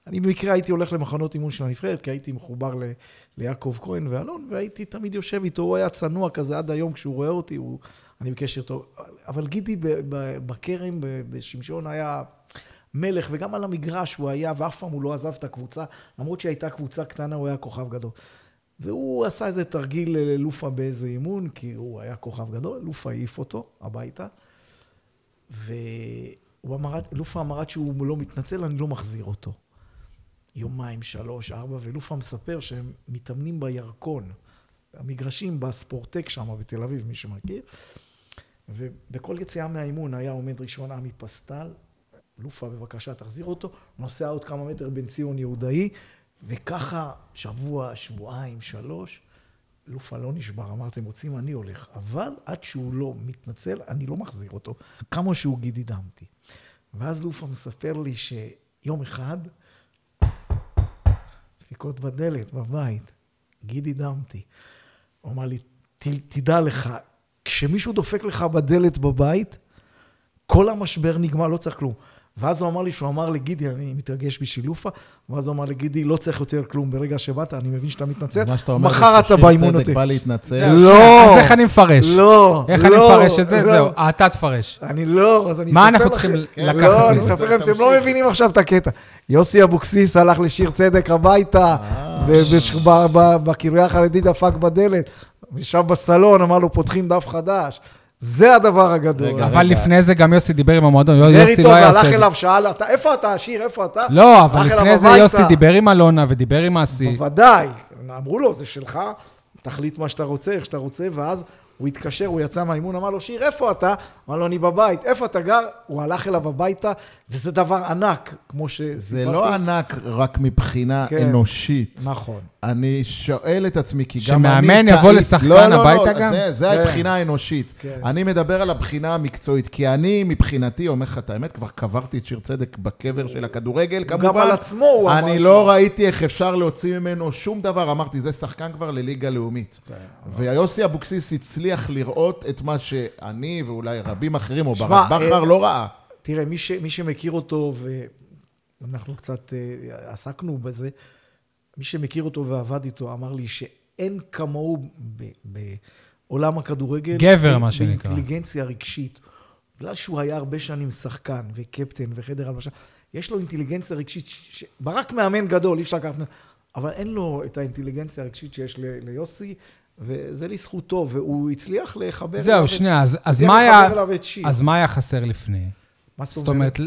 אני במקרה הייתי הולך למחנות אימון של הנבחרת, כי הייתי מחובר ל... ליעקב כהן ואלון, והייתי תמיד יושב איתו, הוא היה צנוע כזה עד היום כשהוא רואה אותי, הוא... אני בקשר טוב. אבל גידי ב... ב... בכרם, ב... בשמשון היה... מלך, וגם על המגרש הוא היה, ואף פעם הוא לא עזב את הקבוצה, למרות שהייתה קבוצה קטנה, הוא היה כוכב גדול. והוא עשה איזה תרגיל ללופה באיזה אימון, כי הוא היה כוכב גדול, לופה העיף אותו הביתה, והוא אמר, לופה אמר עד שהוא לא מתנצל, אני לא מחזיר אותו. יומיים, שלוש, ארבע, ולופה מספר שהם מתאמנים בירקון. המגרשים בספורטק שם בתל אביב, מי שמכיר. ובכל יציאה מהאימון היה עומד ראשון עמי פסטל, לופה בבקשה תחזיר אותו, נוסע עוד כמה מטר בן ציון יהודאי, וככה שבוע, שבועיים, שלוש, אלוף אלון נשבר, אמר, אתם רוצים, אני הולך. אבל עד שהוא לא מתנצל, אני לא מחזיר אותו, כמה שהוא גידי דמתי. ואז לופה מספר לי שיום אחד, דפיקות בדלת בבית, גידי דמתי. הוא אמר לי, "ת- תדע לך, כשמישהו דופק לך בדלת בבית, כל המשבר נגמר, לא צריך כלום. ואז הוא אמר לי, שהוא אמר לגידי, אני מתרגש בשילופה, ואז הוא אמר לגידי, לא צריך יותר כלום, ברגע שבאת, אני מבין שאתה מתנצל, מה שאתה אומר זה מחר אתה ששיר באימון צדק אותי. בא זהו, להתנצל. לא. שנייה, אז איך אני מפרש? לא, איך לא, אני מפרש את זה? לא. זהו, אה, אתה תפרש. אני לא, אז אני מה אספר אנחנו לכם- צריכים לקחת לא, אני מזה? אספר לכם, אתם לא תמשיך. מבינים עכשיו את הקטע. יוסי אבוקסיס הלך לשיר צדק הביתה, ב- בש- ב- ב- בקריה החרדית דפק בדלת, ישב בסלון, אמר לו, פותחים דף חדש. זה הדבר הגדול. רגע, אבל לפני זה גם יוסי דיבר עם המועדון, דיבר יוסי איתו לא היה והלך עושה את זה. אליו, שאל, "אתה- איפה אתה, השיר, איפה אתה? לא, אבל הלך אליו לפני זה הביתה. יוסי דיבר עם אלונה ודיבר עם אסי. בוודאי. אמרו לו, זה שלך, תחליט מה שאתה רוצה, איך שאתה רוצה, ואז הוא התקשר, הוא יצא מהאימון, אמר לו, שיר, איפה אתה? אמר לו, אני בבית. איפה אתה גר? הוא הלך אליו הביתה, וזה דבר ענק, כמו שסיפרתי. זה לא ענק רק מבחינה כן. אנושית. נכון. אני שואל את עצמי, כי גם אני... שמאמן יבוא טעיתי- לשחקן לא, לא, לא, הביתה גם? זה, זה כן. הבחינה האנושית. כן. אני מדבר על הבחינה המקצועית, כי אני, מבחינתי, אומר לך את האמת, כבר קברתי את שיר צדק בקבר של הכדורגל, גם כמובן. על עצמו הוא אמר אני שהוא- לא ראיתי איך אפשר להוציא ממנו שום דבר. אמרתי, זה שחקן כבר לליגה לאומית. כן, ויוסי אבוקסיס הצליח לראות את מה שאני, ואולי רבים אחרים, או שמע, ברק אה, בכר, לא ראה. תראה, מי, ש, מי שמכיר אותו, ואנחנו קצת אה, עסקנו בזה, מי שמכיר אותו ועבד איתו אמר לי שאין כמוהו ב, בעולם הכדורגל. גבר, ב- מה שנקרא. באינטליגנציה רגשית. בגלל שהוא היה הרבה שנים שחקן וקפטן וחדר הלבשה, יש לו אינטליגנציה רגשית, ש- ש- ברק מאמן גדול, אי אפשר לקחת ממנו, אבל אין לו את האינטליגנציה הרגשית שיש ל- ליוסי, וזה לזכותו, והוא הצליח לחבר אליו זהו, את- שנייה, אז- אז הצליח מה היה... לחבר אליו את שיר. אז מה היה חסר לפני? מה זאת אומרת,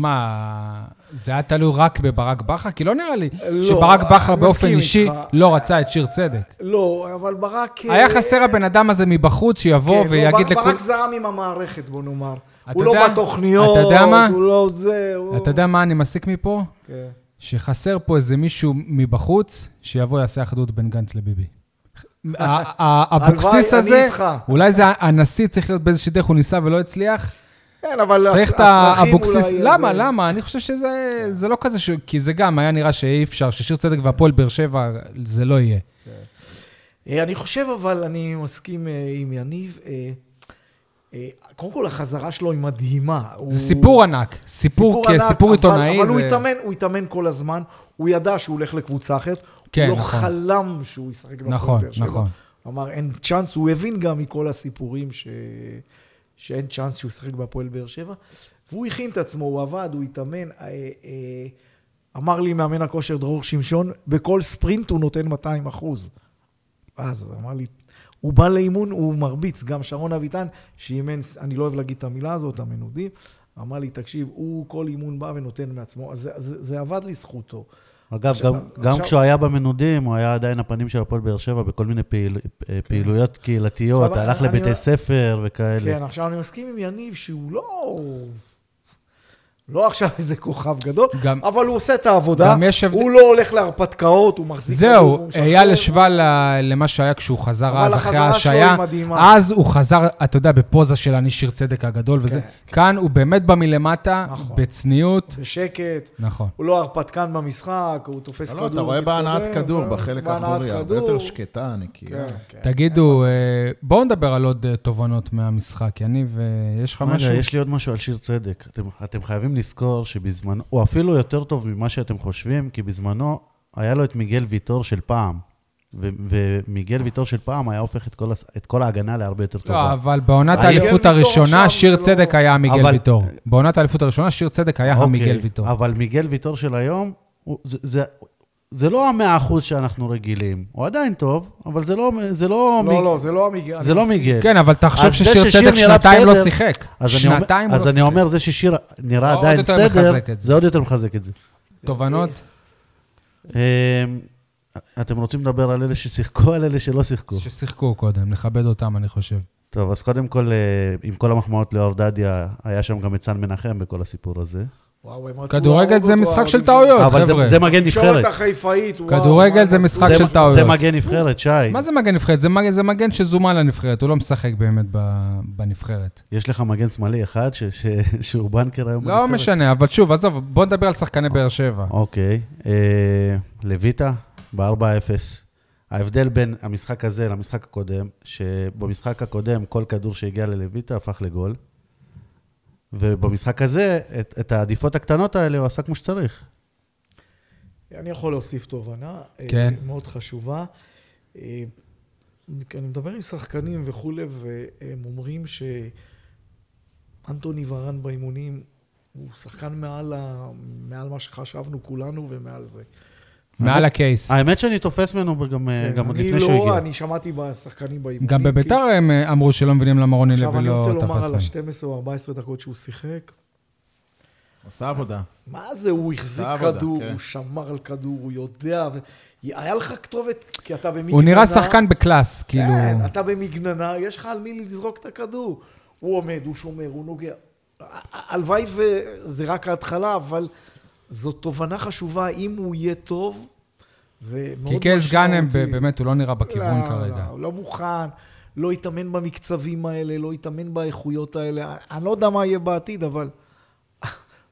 מה, זה היה תלוי רק בברק בכר? כי לא נראה לי לא, שברק בכר אני באופן מסכים אישי איתך. לא רצה את שיר צדק. לא, אבל ברק... היה חסר הבן אדם הזה מבחוץ שיבוא כן, ויגיד לא, בר- לכולם... ברק זרם עם המערכת, בוא נאמר. אתה הוא לא יודע- בתוכניות, אתה יודע מה? הוא לא זה, הוא... אתה יודע מה אני מסיק מפה? כן. שחסר פה איזה מישהו מבחוץ שיבוא יעשה אחדות בין גנץ לביבי. ה- ה- האבוקסיס הלוואי, אני הזה, איתך. אולי זה הנשיא צריך להיות באיזושהי דרך, הוא ניסה ולא הצליח. כן, אבל צריך את הצ- הצרכים האבוקסיס, אולי, אה, למה, זה- למה? אני חושב שזה זה לא כזה, ש... כי זה גם היה נראה שאי אפשר, ששיר צדק והפועל באר שבע, זה לא יהיה. אה, אני חושב, אבל אני מסכים אה, עם יניב. אה, אה, קודם כל, החזרה שלו היא מדהימה. הוא- זה סיפור ענק, סיפור, כ- ענק, סיפור אבל- עיתונאי. אבל הוא זה- התאמן, הוא התאמן כל הזמן, הוא ידע שהוא הולך לקבוצה אחרת. כן, הוא לא נכון. חלם שהוא ישחק בהפועל נכון, באר שבע. נכון. הוא אמר, אין צ'אנס, הוא הבין גם מכל הסיפורים ש... שאין צ'אנס שהוא ישחק בהפועל באר שבע. והוא הכין את עצמו, הוא עבד, הוא התאמן. אה, אה, אמר לי מאמן הכושר דרור שמשון, בכל ספרינט הוא נותן 200 אחוז. אז אמר לי, הוא בא לאימון, הוא מרביץ. גם שרון אביטן, שאימן, אני לא אוהב להגיד את המילה הזאת, המנודים, אמר לי, תקשיב, הוא כל אימון בא ונותן מעצמו. אז זה, זה, זה עבד לזכותו. אגב, עכשיו- גם, גם עכשיו- כשהוא היה במנודים, הוא היה עדיין הפנים של הפועל באר שבע בכל מיני פעיל, אה, פעילויות קהילתיות, עכשיו, הלך אני- לבתי אני- ספר וכאלה. כן, עכשיו אני מסכים עם יניב שהוא לא... לא עכשיו איזה כוכב גדול, גם- אבל הוא עושה את העבודה, גם יש הבדל- הוא לא הולך להרפתקאות, הוא מחזיק... כדור, זהו, הוא משחרר. אייל השווה ל- למה שהיה כשהוא חזר אבל אז, אחרי החזרה שלו ההשעיה. היא מדהימה. אז הוא חזר, אתה יודע, בפוזה של אני שיר צדק הגדול וזה. כאן הוא באמת בא מלמטה, כן. נכון. בצניעות. בשקט, נכון. הוא לא הרפתקן במשחק, הוא תופס לא, כדור. לא, אתה רואה מתקדם, בהנעת כדור ו- בחלק בהנעת האחורי, הרבה כדור. יותר שקטה, כאילו. נקייה. כן, כן. תגידו, אה, בואו נדבר על עוד אה, תובנות מהמשחק. יניב, אה, יש לך משהו? רגע, יש לי עוד משהו על שיר צדק. אתם, אתם חייבים לזכור שבזמנו, הוא אפילו יותר טוב ממה שאתם חושבים, כי בזמנו היה לו את מיגל ויטור של פעם. ו- ומיגל ויטור של פעם היה הופך את כל, הס- את כל ההגנה להרבה יותר טובה. לא, אבל בעונת מיגל האליפות ויטור הראשונה, עכשיו שיר לא- צדק היה המיגל אבל- ויטור. בעונת האליפות הראשונה, שיר צדק היה אוקיי, המיגל ויטור. אבל מיגל ויטור של היום, הוא, זה, זה, זה לא המאה אחוז שאנחנו רגילים. הוא עדיין טוב, אבל זה לא... זה לא, לא, לא, זה לא המיגל. זה לא מיגל. כן, אבל תחשוב אז זה ששיר ששיר צדק נראה שנתיים לא בסדר, שיחק. אז אני אומר- שנתיים הוא לא אז אני שיחק. אומר, זה ששיר נראה עוד עדיין יותר בסדר, מחזק את זה. זה עוד יותר מחזק את זה. תובנות? אמ, אתם רוצים לדבר על אלה ששיחקו, על אלה שלא שיחקו. ששיחקו קודם, נכבד אותם, אני חושב. טוב, אז קודם כל, אה, עם כל המחמאות לאור דדיה, היה שם גם את סן מנחם בכל הסיפור הזה. וואו, הם רצו כדורגל להרוג זה אותו, משחק של האוהדים טעויות, אבל זה- לא, חבר'ה. זה מגן התקשורת נבחרת. החיפאית, וואו. כדורגל מה זה הם משחק עשו? של זה- טעויות. זה מגן נבחרת, שי. מה זה מגן נבחרת? זה מגן, זה מגן שזומן לנבחרת, הוא לא משחק באמת ב- בנבחרת. יש לך מגן שמאלי אחד ש- ש- שהוא בנקר היום לא משנה, אבל שוב, עזוב, בוא נדבר על שחקני באר שבע. אוקיי. אה, לויטה, ב-4-0. ההבדל בין המשחק הזה למשחק הקודם, שבמשחק הקודם כל כדור שהגיע ללויטה הפך לגול, ובמשחק הזה, את, את העדיפות הקטנות האלה הוא עשה כמו שצריך. אני יכול להוסיף תובנה. אה, כן. מאוד חשובה. אה, אני מדבר עם שחקנים וכולי, והם אומרים שאנטוני ורן באימונים הוא שחקן מעל, ה... מעל מה שחשבנו כולנו ומעל זה. מעל הקייס. האמת שאני תופס ממנו גם, אה, גם עוד אני לפני לא, שהוא הגיע. אני שמעתי בשחקנים באימונים. גם בביתר הם אה, אמרו שלא מבינים למה רוני כי- לוי עכשיו אני לא רוצה לומר תפס על מהם. ה-12 או 14 דקות שהוא שיחק. עושה עבודה. מה זה, הוא החזיק עשה עבודה, כדור, כן. הוא שמר על כדור, הוא יודע. ו... היה לך כתובת, כי אתה במגננה. הוא נראה שחקן בקלאס, כאילו... כן, אתה במגננה, יש לך על מי לזרוק את הכדור. הוא עומד, הוא שומר, הוא נוגע. הלוואי וזה רק ההתחלה, אבל זו תובנה חשובה, אם הוא יהיה טוב, זה מאוד כי משמעותי. קייס גאנם, ב- באמת, הוא לא נראה בכיוון לא, כרגע. לא, הוא לא מוכן, לא יתאמן במקצבים האלה, לא יתאמן באיכויות האלה. אני לא יודע מה יהיה בעתיד, אבל...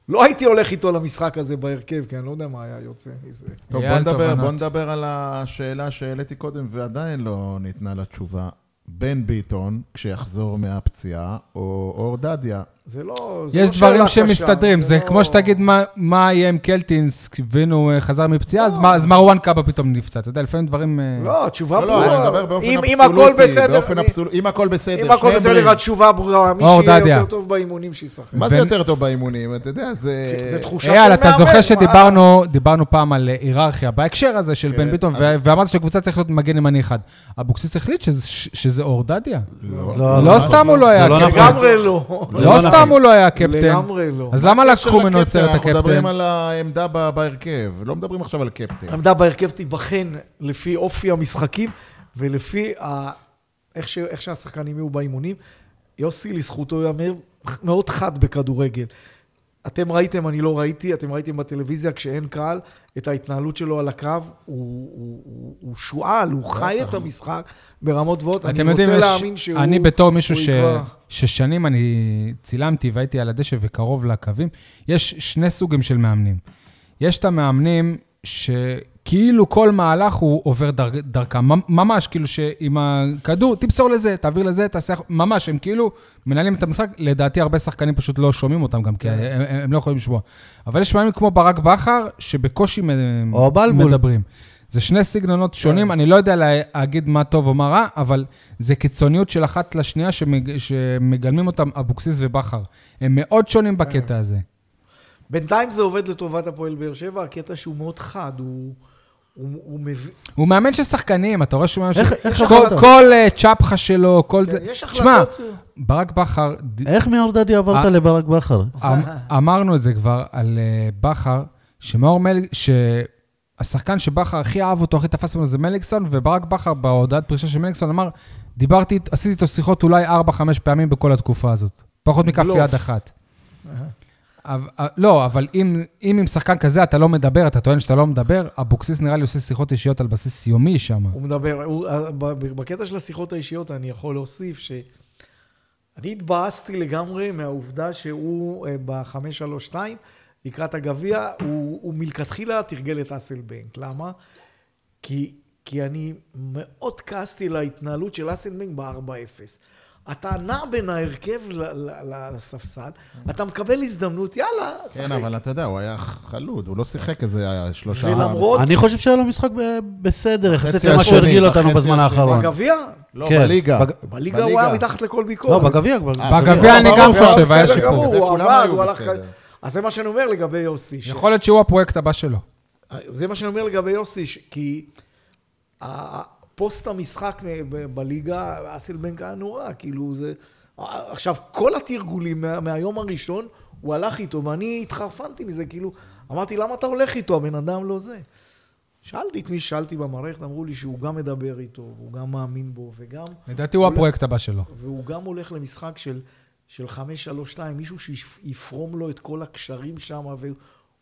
לא הייתי הולך איתו למשחק הזה בהרכב, כי אני לא יודע מה היה יוצא מזה. טוב, אייל, בוא נדבר, תובנות. בוא נדבר על השאלה שהעליתי קודם, ועדיין לא ניתנה לה תשובה. בן ביטון, כשיחזור מהפציעה, או אור דדיה. זה לא... זה לא יש דברים שאלה קשה, שמסתדרים, זה לא- כמו שתגיד מה- מה יהיה עם קלטינס, והנה הוא אה, חזר מפציעה, אז מה- אז מרואן קאבה פתאום נפצע. אתה יודע, לפעמים דברים... אה, לא, התשובה לא, לא, ברורה. אני מדבר באופן אם- אבסולוטי. אם הכל בסדר, באופן אם- אבסולוטי. אם הכל בסדר, אם הכל שניהם בסדר, בריאים. התשובה ברורה. מי אור שיהיה דדיה. יותר טוב באימונים, שישחק. מה זה בין- יותר טוב באימונים? אתה יודע, זה... זה תחושה של מאמן. אייל, אתה זוכר מה? שדיברנו דיברנו פעם על אה, היררכיה בהקשר הזה של כן, בן ביטון, אז- ו- ואמרת שהקבוצה צריך להיות מגן ימני אחד. אבוקסיס החליט שזה- ש- שזה אור דדיה. לא, לא סתם הוא לא היה זה לא נכון. קפטן. לגמרי לא. זה לא לא סתם נכון. הוא לא היה קפטן. לגמרי לא. אז למה הקשר לקחו ממנו את לקפטן, סרט אנחנו הקפטן? מדברים על העמדה ב- בהרכב, לא מדברים עכשיו על קפטן. העמדה בהרכב תיבחן לפי אופי המשחקים ולפי ה... איך, ש... איך שהשחקנים יהיו באימונים. יוסי, לזכותו ייאמר, מאוד חד בכדורגל. אתם ראיתם, אני לא ראיתי, אתם ראיתם בטלוויזיה כשאין קהל, את ההתנהלות שלו על הקו, הוא, הוא, הוא, הוא שועל, הוא חי את המשחק ברמות גבוהות. אני אתם יודעים, רוצה יש- להאמין שהוא... אני בתור מישהו הוא ש... יקבע. ששנים אני צילמתי והייתי על הדשא וקרוב לקווים, יש שני סוגים של מאמנים. יש את המאמנים שכאילו כל מהלך הוא עובר דרכ... דרכם, ממ- ממש כאילו שעם הכדור, תמסור לזה, תעביר לזה, תעשה... אח- ממש, הם כאילו מנהלים את המשחק. לדעתי הרבה שחקנים פשוט לא שומעים אותם גם, כן. כי הם, הם- הם לא יכולים לשמוע. אבל יש מאמנים כמו ברק בכר, שבקושי מ- או כן. בלבול. מדברים. זה שני סגנונות שונים, אני לא יודע לה- להגיד מה טוב או מה רע, אבל זה קיצוניות של אחת לשנייה שמג... שמגלמים אותם אבוקסיס ובכר. הם מאוד כן. שונים בקטע הזה. בינתיים זה עובד לטובת הפועל באר שבע, הקטע שהוא מאוד חד, הוא, הוא, הוא מבין... הוא מאמן של שחקנים, אתה רואה שהוא מאמן של... איך כל- החלטות? כן, כל אה, צ'פחה שלו, כל זה. יש תשמע, החלטות... ברק בכר, ד- איך מאור דדי עברת אה. לברק בכר? אמ- אמרנו את זה כבר על אה, בכר, שמאור מליק, שהשחקן שבכר הכי אהב אותו, הכי תפס ממנו זה מליקסון, וברק בכר בהודעת פרישה של מליקסון אמר, דיברתי, עשיתי איתו שיחות אולי 4-5 פעמים בכל התקופה הזאת. פחות מכף בלוף. יד אחת. אבל- אה, לא, אבל אם, אם עם שחקן כזה אתה לא מדבר, אתה טוען שאתה לא מדבר, אבוקסיס נראה לי עושה שיחות אישיות על בסיס יומי שם. הוא מדבר, הוא, אה, ב- בקטע של השיחות האישיות אני יכול להוסיף ש... אני התבאסתי לגמרי מהעובדה שהוא אה, ב-532, לקראת הגביע, הוא, הוא מלכתחילה תרגל את אסלבנק. למה? כי, כי אני מאוד כעסתי להתנהלות של אסלבנק ב-4-0. אתה נע בין ההרכב ל- ל- לספסל, אתה מקבל הזדמנות, יאללה, כן, אבל אתה יודע, הוא היה חלוד, הוא לא שיחק איזה היה שלושה... ולמרות- אני חושב שהיה לו משחק ב- בסדר, יחסית בחצי למה השני, שהרגיל אותנו בחצי בזמן השני. האחרון. בגביע? לא, כן. בליגה. בג- בליגה הוא היה מתחת לכל לא, ביקורת. בגביע כבר. אה, בגביע אני ברור, גם ברור, חושב, היה בסדר שיפור. גמור, הוא וכולם עבד, היו הוא הלך... בסדר. אז זה מה שאני אומר לגבי יוסי. ש- יכול להיות שהוא הפרויקט הבא שלו. זה מה שאני אומר לגבי יוסי, ש- כי ה- פוסט המשחק נ- ב- בליגה, אסלבנק היה נורא, כאילו זה... עכשיו, כל התרגולים מה, מהיום הראשון, הוא הלך איתו, ואני התחרפנתי מזה, כאילו, אמרתי, למה אתה הולך איתו? הבן אדם לא זה. שאלתי את מי ששאלתי במערכת, אמרו לי שהוא גם מדבר איתו, והוא גם מאמין בו, וגם... לדעתי הוא אולי- הפרויקט הבא שלו. והוא גם הולך למשחק של של 5-3-2, מישהו שיפרום לו את כל הקשרים שם,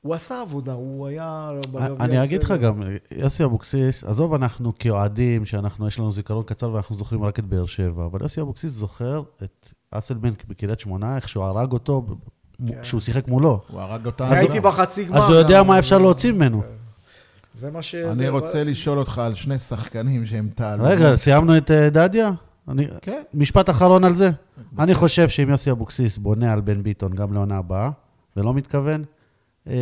והוא עשה עבודה, הוא היה... בגביע אני אגיד לך בסדר. גם, יוסי אבוקסיס, עזוב אנחנו כאוהדים, שאנחנו, יש לנו זיכרון קצר ואנחנו זוכרים רק את באר שבע, אבל יוסי אבוקסיס זוכר את אסלבנק בקריית שמונה, איך שהוא הרג אותו, ב- כן. כשהוא שיחק מולו. הוא הרג אותנו. אני הייתי בחצי גמר. אז הוא יודע גם. מה אפשר להוציא ממנו. זה מה ש... אני זה- רוצה לשאול אותך על שני שחקנים שהם תעלו. רגע, סיימנו את אה, דדיה? אני- כן. משפט אחרון על זה. אני חושב שאם יוסי אבוקסיס בונה על בן ביטון גם לעונה הבאה, ולא מתכוון, אה,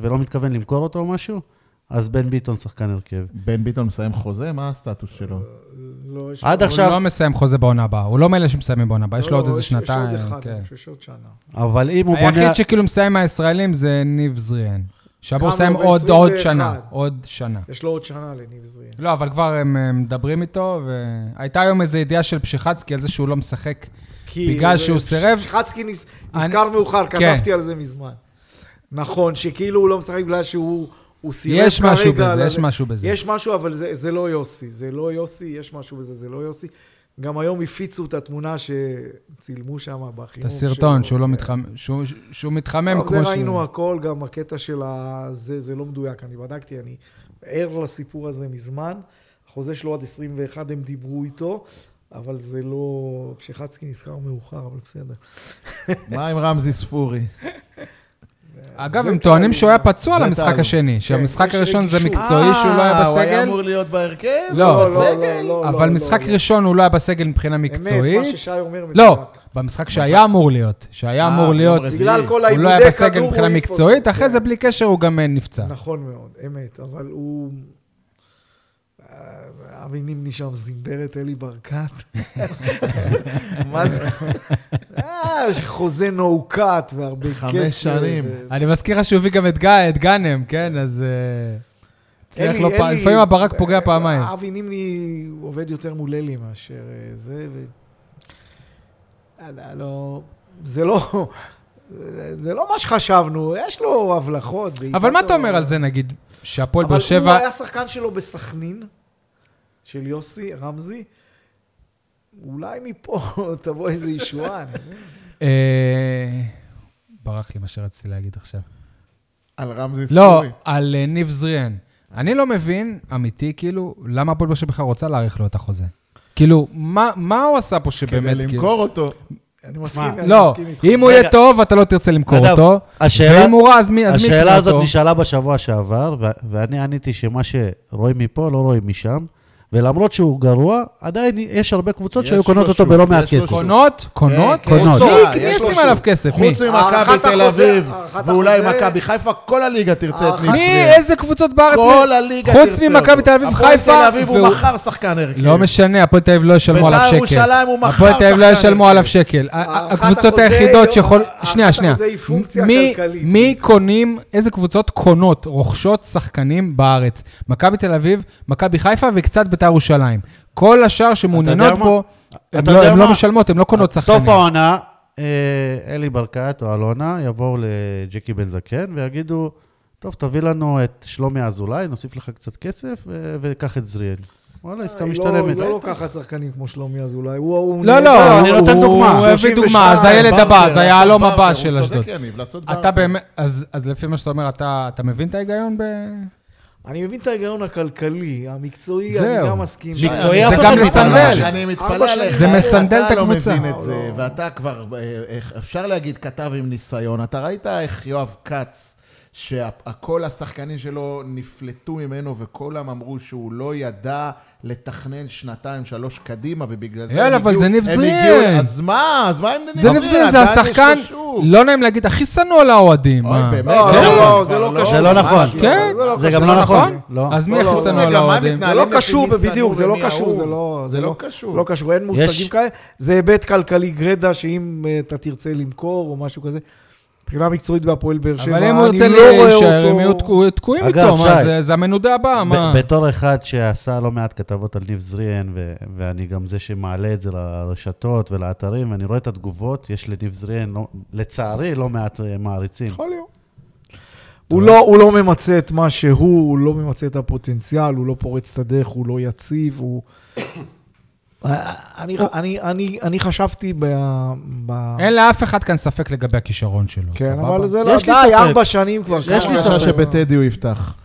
ולא מתכוון למכור אותו או משהו, אז בן ביטון שחקן הרכב. בן ביטון מסיים חוזה, מה הסטטוס שלו? לא, יש- עד לא, עכשיו- הוא לא מסיים חוזה בעונה הבאה, הוא לא מאלה שמסיימים בעונה הבאה, יש לו לא, עוד איזה יש- יש שנתיים. עוד אחד, כן. אני חושב שעוד שנה. אבל אם הוא בונה... היחיד שכאילו מסיים מהישראלים זה ניב זריאן. שאמור גם לסיים הוא עוד ב- עוד 21. שנה, עוד שנה. יש לו עוד שנה לניב זריאן. לא, אבל כבר הם אה, מדברים איתו, והייתה היום איזו ידיעה של פשיחצקי על זה שהוא לא משחק. כי- בגלל שהוא סירב? שחצקי נז- אני- נזכר מאוחר, כן. כתבתי על זה מזמן. נכון, שכאילו הוא לא משחק בגלל שהוא הוא סירב כרגע. יש משהו בזה, על- יש משהו בזה. יש משהו, אבל זה, זה לא יוסי. זה לא יוסי, יש משהו בזה, זה לא יוסי. גם היום הפיצו את התמונה שצילמו שם בחימום. את הסרטון, שלו. שהוא לא כן. מתחמם, שהוא- שהוא מתחמם טוב, כמו זה ראינו שהוא... הכל, גם הקטע של ה... זה, זה לא מדויק, אני בדקתי, אני ער לסיפור הזה מזמן. החוזה שלו עד 21, הם דיברו איתו, אבל זה לא... פשיחצקי נזכר מאוחר, אבל בסדר. מה עם רמזי ספורי? אגב, זה הם טוענים תעלום. שהוא היה פצוע זה על המשחק תעלום. השני, שהמשחק יש הראשון זה רגישות. מקצועי שהוא לא היה אה, הוא היה בסגל, אמור להיות בהרכב? לא, הוא לא, בסגל? אבל משחק ראשון הוא לא היה בסגל מבחינה אמת, מה מקצועית. ששי אומר מדויק. לא, במשחק שהיה אמור להיות, שהיה אה, אמור להיות, רביעי. בגלל כל הוא לא האיגודי היה בסגל כדור, הוא מבחינה העיף אותו. מקצועית, אחרי כן. זה בלי קשר הוא גם אה, נפצע. נכון מאוד, אמת, אבל הוא... אה, אבי נימני שם זינדר את אלי ברקת. מה זה? אה, יש חוזה נו קאט והרבה כסף. חמש שנים. ו- אני מזכיר לך שהוא הביא גם את גא- את גאנם, כן? אז... אה, הצליח אלי- לו פעם, אלי- אה, לפעמים הברק פוגע פעמיים. אבי נימני עובד יותר מול אלי מאשר אה, זה, ו... יאללה, לא... זה לא... זה לא מה שחשבנו, יש לו הבלחות. בעיטות אבל מה אתה אומר טובות. על זה, נגיד, שהפועל אה, אבל באר הוא לא שבע... היה שחקן שלו בסכנין, של יוסי, רמזי. אולי מפה תבוא איזה ישועה. אני יודע. אה, ברח לי מה שרציתי להגיד עכשיו. על רמזי לא, ספורי. על אה, ניב זריאן. אני לא מבין, אמיתי, כאילו, למה הפועל באר שבע בכלל רוצה להאריך לו את החוזה. כאילו, מה, מה הוא עשה פה כדי שבאמת... כאילו- למכור אותו. אני מסכים, אני לא, מסכים איתך. אם הוא רגע. יהיה טוב, אתה לא תרצה למכור אגב, אותו. השאלה, ואם הוא רע, אז מי אז מי יקנה השאלה הזאת אותו? נשאלה בשבוע שעבר, ו- ואני עניתי שמה שרואים מפה לא רואים משם, ולמרות שהוא גרוע, עדיין יש הרבה קבוצות יש שהיו קונות לו אותו שוק, בלא יש מעט לו כסף. שוק. קונות? קונות? כן, קונות. קבוצה, מי- מי יש לו ישים שוק. עליו כסף? מי? חוץ הארכת ממכבי תל החוזה, אביב, הארכת ואולי החוזה. מכבי חיפה, כל הליגה תרצה את הארכת- מי? ניסטריה. איזה קבוצות בארץ? כל הליגה תרצה חוץ אותו. ממכבי תל אביב, חיפה, הפועל תל אביב הוא והוא- מכר שחקן הרכב. לא משנה, הפועל תל אביב לא ישלמו עליו בית"ר שקל. ירושלים הוא מכר הפועל תל אביב לא שחקן ישלמו הרכב. עליו שקל. ה- ה- הארכת הקבוצות החוזה היחידות היא- שיכול... הארכת שנייה, שנייה. החוזה היא פונקציה מי- כלכלית. מי קונים, איזה קבוצות קונות, רוכשות שחקנים בארץ? מכבי תל אביב, מכבי חיפה וקצת בית"ר ירושלים. כל השאר אתה שמעוניינות יודע בו, מה? הן אתה לא- יודע הן לא מה? משלמות, הן לא קונות שחקנים. סוף העונה, אה, אלי ברקת או אלונה יבואו לג'קי בן זקן ויגידו, טוב, תביא לנו את שלומי אזולאי, נוסיף לך קצת כסף, ו- וקח את זריאן. וואלה, אה, עסקה היא לא- משתלמת. היא לא לוקחת שחקנים כמו שלומי אזולאי. הוא- הוא לא, נהדר, לא, אני נותן הוא- דוגמה. הוא הביא 32, דוגמה, אז הילד ברטר, הבא, זה לעשות היהלום ברטר, הבא של אשדוד. הוא צודק, יניב, לעשות אתה ברטר. באמת, אז אז לפי מה שאתה אומר, אתה אתה מבין את ההיגיון ב... אני מבין את ההיגיון הכלכלי, המקצועי, זהו. אני גם מסכים. מקצועי זה אף גם אחד לא מסנדל. קנה. אני מתפלא ארבע עליך. שנים. זה מסנדל את אתה הקבוצה. לא מבין את זה, ואתה כבר, אה, איך- אפשר להגיד, כתב עם ניסיון. אתה ראית איך יואב כץ, שכל השחקנים שלו נפלטו ממנו, וכולם אמרו שהוא לא ידע לתכנן שנתיים, שלוש קדימה, ובגלל זה הם יאללה, אבל הגיעו- זה ניב הם זריאן. הגיעו- אז מה? אז מה הם ניב זה נבזה, זה השחקן, לא נעים להגיד, הכי שנוא על האוהדים. אוי, מה? באמת, לא, כן. לא, זה לא כבר קשור. זה לא ממש נכון. לא. כן, זה גם לא נכון. לא. אז מי לא, הכי לא, שנוא רגע, על מה הם האוהדים? זה לא מתנהלים קשור לפי מי בדיוק, זה שנוא לא ומי קשור, זה אהוב. לא... זה לא קשור. לא קשור, אין מושגים יש- כאלה. זה היבט כלכלי גרידא, שאם אה, אתה תרצה למכור או משהו כזה, מבחינה מקצועית בהפועל באר שבע, אבל אם הוא אני ירצה לא רואה להישאר, אותו- הם יהיו תקוע- תקועים אגב, איתו, מה שי, זה- זה המנודה הבאה, מה? ב- בתור אחד שעשה לא מעט כתבות על ניב זריאן, ו- ואני גם זה שמעלה את זה לרשתות ולאתרים, ואני רואה את התגובות, יש לניב זריאן, לא, לצערי, לא מעט אה, מעריצים. נכון. יכול להיות. הוא לא, הוא לא ממצה את מה שהוא, הוא לא ממצה את הפוטנציאל, הוא לא פורץ את הדרך, הוא לא יציב, הוא... אני- אני- אני- אני חשבתי ב... ב- אין לאף אחד כאן ספק לגבי הכישרון שלו, כן, סבבה? אבל זה לא... יש לי די, ספק. ארבע שנים כבר. יש לי כמה- הרגשה שבטדי הוא יפתח.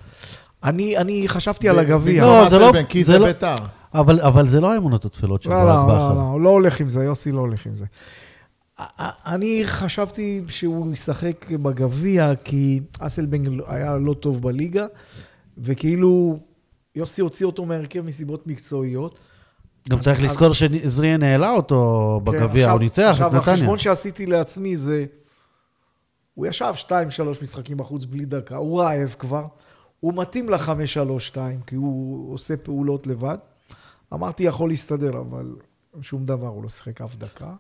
אני אני חשבתי על הגביע. לא, זה לא- בן, כי זה זה לא- ביתר. אבל, אבל זה לא האמונות התפלות של לא, ברק לא, בכר. לא, לא, הוא לא הולך עם זה, יוסי לא הולך עם זה. א- א- אני חשבתי שהוא ישחק בגביע, כי אסלבנג היה לא טוב בליגה, וכאילו יוסי הוציא אותו מהרכב מסיבות מקצועיות. גם צריך אז- לזכור שזריה העלה אותו כן, בגביע, עכשיו- הוא ניצח את עכשיו, נתניה. החשבון שעשיתי לעצמי זה... הוא ישב 2-3 משחקים בחוץ בלי דקה, הוא רעב כבר, הוא מתאים ל-5-3-2, כי הוא עושה פעולות לבד. אמרתי, יכול להסתדר, אבל שום דבר, הוא לא שיחק אף דקה.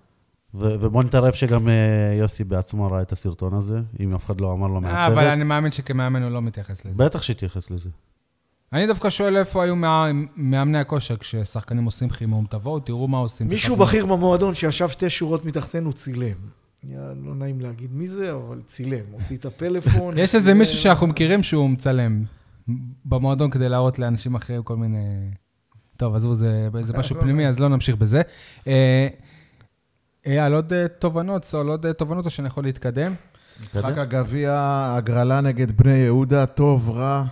ו- ובוא נטרף שגם אה, יוסי בעצמו ראה את הסרטון הזה, אם אף אחד לא אמר לו אה, אבל מהצוות. אני מאמין שכמאמן הוא לא מתייחס לזה. בטח שהתייחס לזה. אני דווקא שואל איפה היו מה- מאמני הכושר כששחקנים עושים חימום, תבואו, תראו מה עושים. מישהו תחברו. בכיר במועדון שישב שתי שורות מתחתנו צילם. היה לא נעים להגיד מי זה, אבל צילם. הוציא את הפלאפון. יש איזה צילם. מישהו שאנחנו מכירים שהוא מצלם במועדון כדי להראות לאנשים אחרים כל מיני... טוב, עזבו, זה, אוקיי, זה משהו פנימי, אז לא נמשיך בזה. אה, אייל, עוד אה, תובנות, סול, עוד אה, תובנות או שאני יכול להתקדם? משחק הגביע, הגרלה נגד בני יהודה, טוב, רע,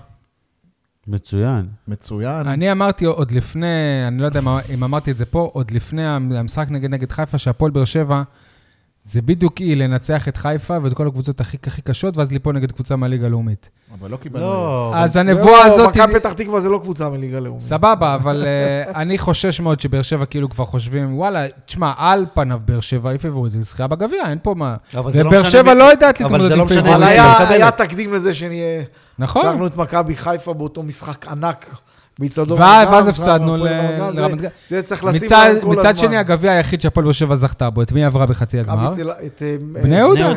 מצוין. מצוין. אני אמרתי עוד לפני, אני לא יודע מה- אם אמרתי את זה פה, עוד לפני המשחק נגד נגד חיפה, שהפועל באר שבע, זה בדיוק אי לנצח את חיפה ואת כל הקבוצות הכי הכי קשות, ואז ליפול נגד קבוצה מהליגה הלאומית. אבל לא קיבלנו... לא, אז לא, הנבואה הזאת... מכבי פתח תקווה זה לא קבוצה מליגה לאומית. סבבה, אבל אה, אני חושש מאוד שבאר שבע כאילו כבר חושבים, וואלה, תשמע, על פניו באר שבע היא פיבוריטית לזכייה בגביע, אין פה מה. אבל זה לא ובאר משנה שבע מי- לא יודעת אבל להתמודד זה עם לא משנה מי אבל אני פיבוריטית. היה- מקבל. היה תקדים לזה שנהיה... נכון. ניצחנו את מכבי חיפה באותו משחק ענק באיצטדיון. ואז- רמת גן, ואז הפסדנו והפועל ל- רמת גן, זה- לרמת גן. זה צריך לשים מצד- עליו כל מצד הזמן. שני, הגביע היחיד שהפועל באר שבע זכתה בו, את מי עברה בחצי הגמר? מכבי תל- את, אה, בני יהודה.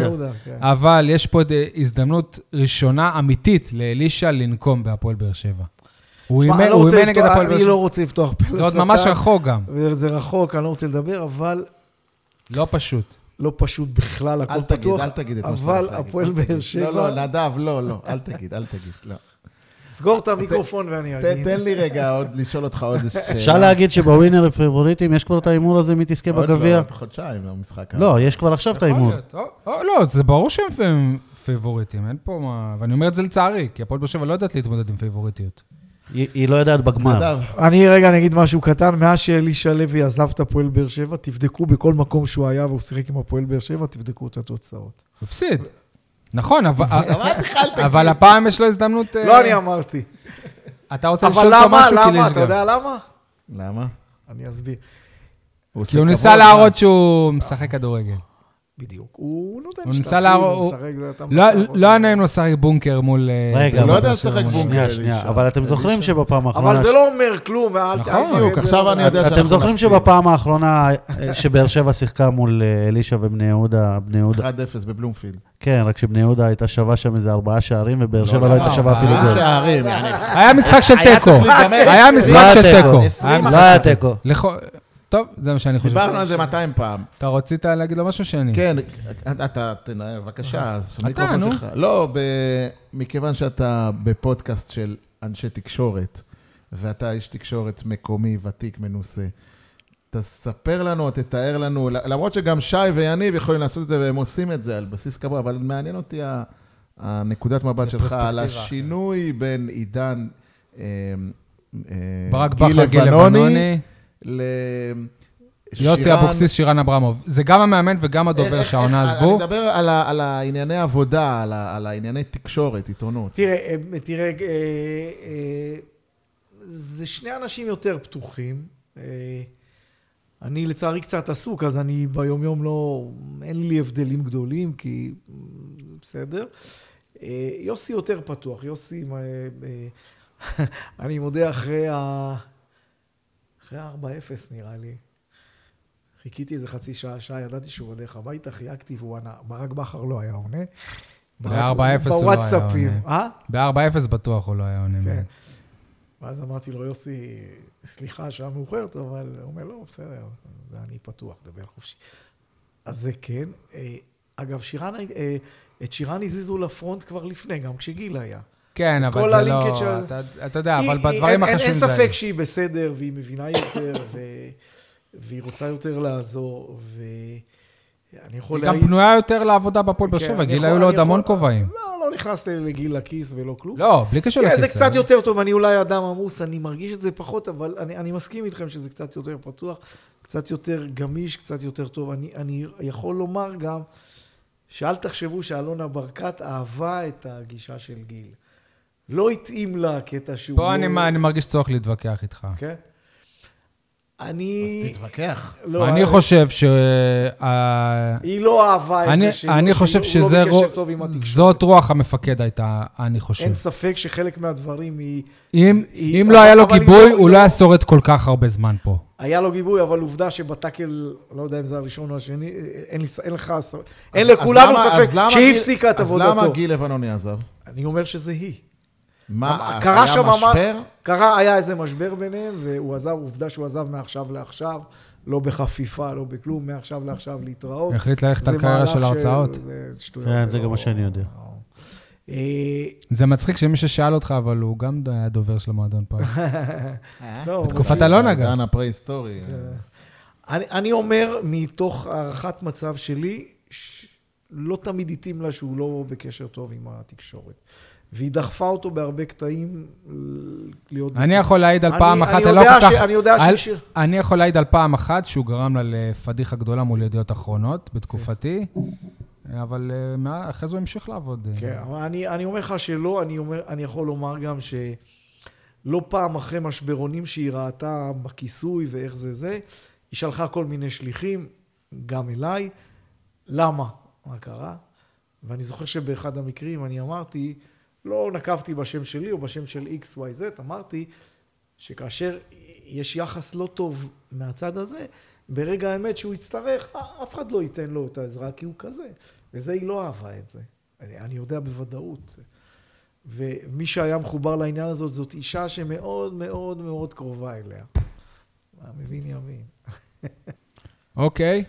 כן. אבל יש פה אה, הזדמנות ראשונה אמיתית לאלישע לנקום בהפועל באר שבע. הוא שמע, אימן אני לא הוא רוצה אימן נגד לפתוח- הפועל באר אני שבע. לא רוצה לפתוח פה זה עוד לשטן, ממש רחוק גם, וזה רחוק, אני לא רוצה לדבר, אבל לא פשוט. לא פשוט בכלל, הכל אל פתוח. תגיד, אל תגיד את מה שאתה אבל הולך להגיד. הפועל אל תגיד. באר שבע... לא, לא, נדב, לא, לא, אל תגיד, אל תגיד. לא. סגור את המיקרופון ואני תן- אגיד. תן לי רגע עוד לשאול אותך עוד שאלה. אפשר להגיד שבווינר פייבוריטים יש כבר את ההימור הזה מי תזכה עוד בגביע? לא, עוד חודשיים המשחק. לא, יש כבר עכשיו את ההימור. או- או- לא, זה ברור שהם פ- פיבוריטים, אין פה מה... ואני אומר את זה לצערי, כי הפועל באר שבע לא יודעת להתמודד עם פיבוריטיות. היא היא לא יודעת בגמר. נדב, אני רגע אני אגיד משהו קטן, מאז שאלישע לוי עזב את הפועל באר שבע, תבדקו בכל מקום שהוא היה והוא שיחק עם הפועל באר שבע, תבדקו את התוצאות. הוא הפסיד. נכון, אבל- אמרתי לך, אל תגיד. אבל הפעם יש לו הזדמנות... אה, לא אני אמרתי. אתה רוצה אבל לשאול אותו למה, משהו, כי למה, יש גם. אתה יודע למה? למה? אני אסביר. כי עושה הוא ניסה כבוד, להראות שהוא משחק כדורגל. בדיוק. הוא נותן הוא שטחים, ניסה להראות- כאילו, הוא משחק, זה אתה לא- מצב אותו. לא היה נעים לו לשחק בונקר מול... אה, רגע, באר הוא לא שבע יודע מול- לשחק בונקר. שנייה, אלישע. שנייה, אבל אתם זוכרים אלישע. שבפעם האחרונה... אבל זה לא אומר כלום, אל נכון, אל תגיד בדיוק, את זה, עכשיו לא- אני יודע שאנחנו אתם זוכרים נפסיד. שבפעם האחרונה אה, שבאר שבע שיחקה מול אה, אלישע ובני יהודה, בני יהודה, 1-0 בבלומפילד. כן, רק שבני יהודה הייתה שווה שם איזה ארבעה שערים, ובאר שבע לא, לא הייתה לא, שווה אה, אפילו גול. שערים, יעני. היה משחק של היה תיקו. צריך להיגמר. היה משחק לא של היה תיקו. תיקו. היה עשרים. לא משחק- היה תיקו. לכו- טוב, זה מה שאני חושב. דיברנו על זה 200 פעם. אתה רצית להגיד לו משהו שני? כן, אתה- אתה תנער, בבקשה, אה, אתה, המיקרופון נו. שלך. לא, ב- מכיוון שאתה בפודקאסט של אנשי תקשורת, ואתה איש תקשורת מקומי, ותיק, מנוסה, תספר לנו, תתאר לנו, למרות שגם שי ויניב יכולים לעשות את זה, והם עושים את זה על בסיס קבוע, אבל מעניין אותי ה- הנקודת מבט שלך על השינוי בין עידן... אה, אה, ברק גיל בכר, גיל לבנוני, יוסי לשירן- אבוקסיס, שירן אברמוב. זה גם המאמן וגם איך- הדובר איך- שהעונה איך- עזבו. אה, אני מדבר על, ה- על הענייני עבודה, על, ה- על הענייני תקשורת, עיתונות. תראה, אה, תראה, אה, אה, זה שני אנשים יותר פתוחים. אה, אני לצערי קצת עסוק, אז אני ביומיום לא, אין לי הבדלים גדולים, כי אה, בסדר. אה, יוסי יותר פתוח, יוסי, אה, אה, אני מודה אחרי ה... אחרי ה-4-0 נראה לי. חיכיתי איזה חצי שעה, שעה, ידעתי שהוא בדרך הביתה, חייגתי והוא ענה. ברק בכר לא היה עונה. ברק- ב-4-0 הוא לא היה בוואטסאפים. עונה. Mm. אה? ב-4-0 בטוח הוא לא היה עונה. כן. מהם. ואז אמרתי לו, יוסי, סליחה, שעה מאוחרת, אבל הוא אומר, לא, בסדר, זה אני פתוח, דבר חופשי. אז זה כן. אה, אגב, שירן, אה, את שירן הזיזו לפרונט כבר לפני, גם כשגיל היה. כן, את אבל כל זה הלינקג' לא... של- אתה- אתה יודע, היא- אבל היא- בדברים אין- אין- החשובים זה... אין היה. ספק שהיא בסדר, והיא מבינה יותר, ו... והיא רוצה יותר לעזור, ואני יכול היא גם פנויה יותר לעבודה בהפועל באר כן, שבע, אני גילה יכול- היו לו אני עוד יכול- המון כובעים. לא, לא נכנס לגיל לכיס ולא כלום. לא, בלי קשר כן, לכיסא. זה קצת יותר טוב, אני אולי אדם עמוס, אני מרגיש את זה פחות, אבל אני, אני מסכים איתכם שזה קצת יותר פתוח, קצת יותר גמיש, קצת יותר טוב. אני, אני יכול לומר גם, שאל תחשבו שאלונה ברקת אהבה את הגישה של גיל. לא התאים לה הקטע שהוא... פה לא- אני מה- אני מרגיש צורך להתווכח איתך. כן? אז אני... תתווכח. לא, אני חושב ש... אה, היא לא אהבה את אני, זה שהוא אני חושב שהוא לא שזה... בקשר רו- טוב עם התקשורת. זאת רוח המפקד הייתה, אני חושב. אין ספק שחלק מהדברים היא... אם, זה- היא- אם לא היה לו אבל היא גיבוי, לא- הוא לא לא- היה שורד כל כך הרבה זמן פה. היה לו גיבוי, אבל עובדה שבטאקל, לא יודע אם זה הראשון או השני, אין, לי, ס- אין לך ספק, אין לכולנו אז למה- אז ספק למה שהיא גיל- הפסיקה את אז למה עבודתו. גיל לבנוני עזב? אני אומר שזה היא. מה, קרה היה שם משבר? משבר? קרה, היה איזה משבר ביניהם, והוא עזב, עובדה שהוא עזב מעכשיו לעכשיו, לא בחפיפה, לא בכלום, מעכשיו לעכשיו להתראות. החליט ללכת אוקיי. זה על קריירה מהלך של הרצאות. זה שטויות, כן, זה לא- גם מה שאני יודע. אה, זה מצחיק שמי ששאל אותך, אבל הוא גם היה דובר של המועדון פעם. לא, בתקופת אלונה גם. דן אה? הפרה-היסטורי. אה, אני, אני אומר, מתוך הערכת מצב שלי, ש... לא תמיד התאים לה שהוא לא בקשר טוב עם התקשורת. והיא דחפה אותו בהרבה קטעים ל- להיות... אני בסדר. יכול להעיד על אני- פעם אני אחת, אני לא יודע כל כך... ש- אני יודע על- שיש- אני יכול להעיד על פעם אחת שהוא גרם לה לפדיחה גדולה מול ידיעות אחרונות בתקופתי, אבל אה, מה- אחרי זה הוא המשיך לעבוד. אה. כן, אבל אני, אני אומר לך שלא, אני, אומר, אני יכול לומר גם שלא פעם אחרי משברונים שהיא ראתה בכיסוי ואיך זה זה, היא שלחה כל מיני שליחים, גם אליי, למה? מה קרה? ואני זוכר שבאחד המקרים אני אמרתי, לא נקבתי בשם שלי או בשם של XYZ, אמרתי שכאשר יש יחס לא טוב מהצד הזה, ברגע האמת שהוא יצטרך, אה, אף אחד לא ייתן לו את העזרה כי הוא כזה. וזה היא לא אהבה את זה. אני, אני יודע בוודאות. ומי שהיה מחובר לעניין הזאת, זאת אישה שמאוד מאוד מאוד קרובה אליה. אה, המבין יבין. אוקיי,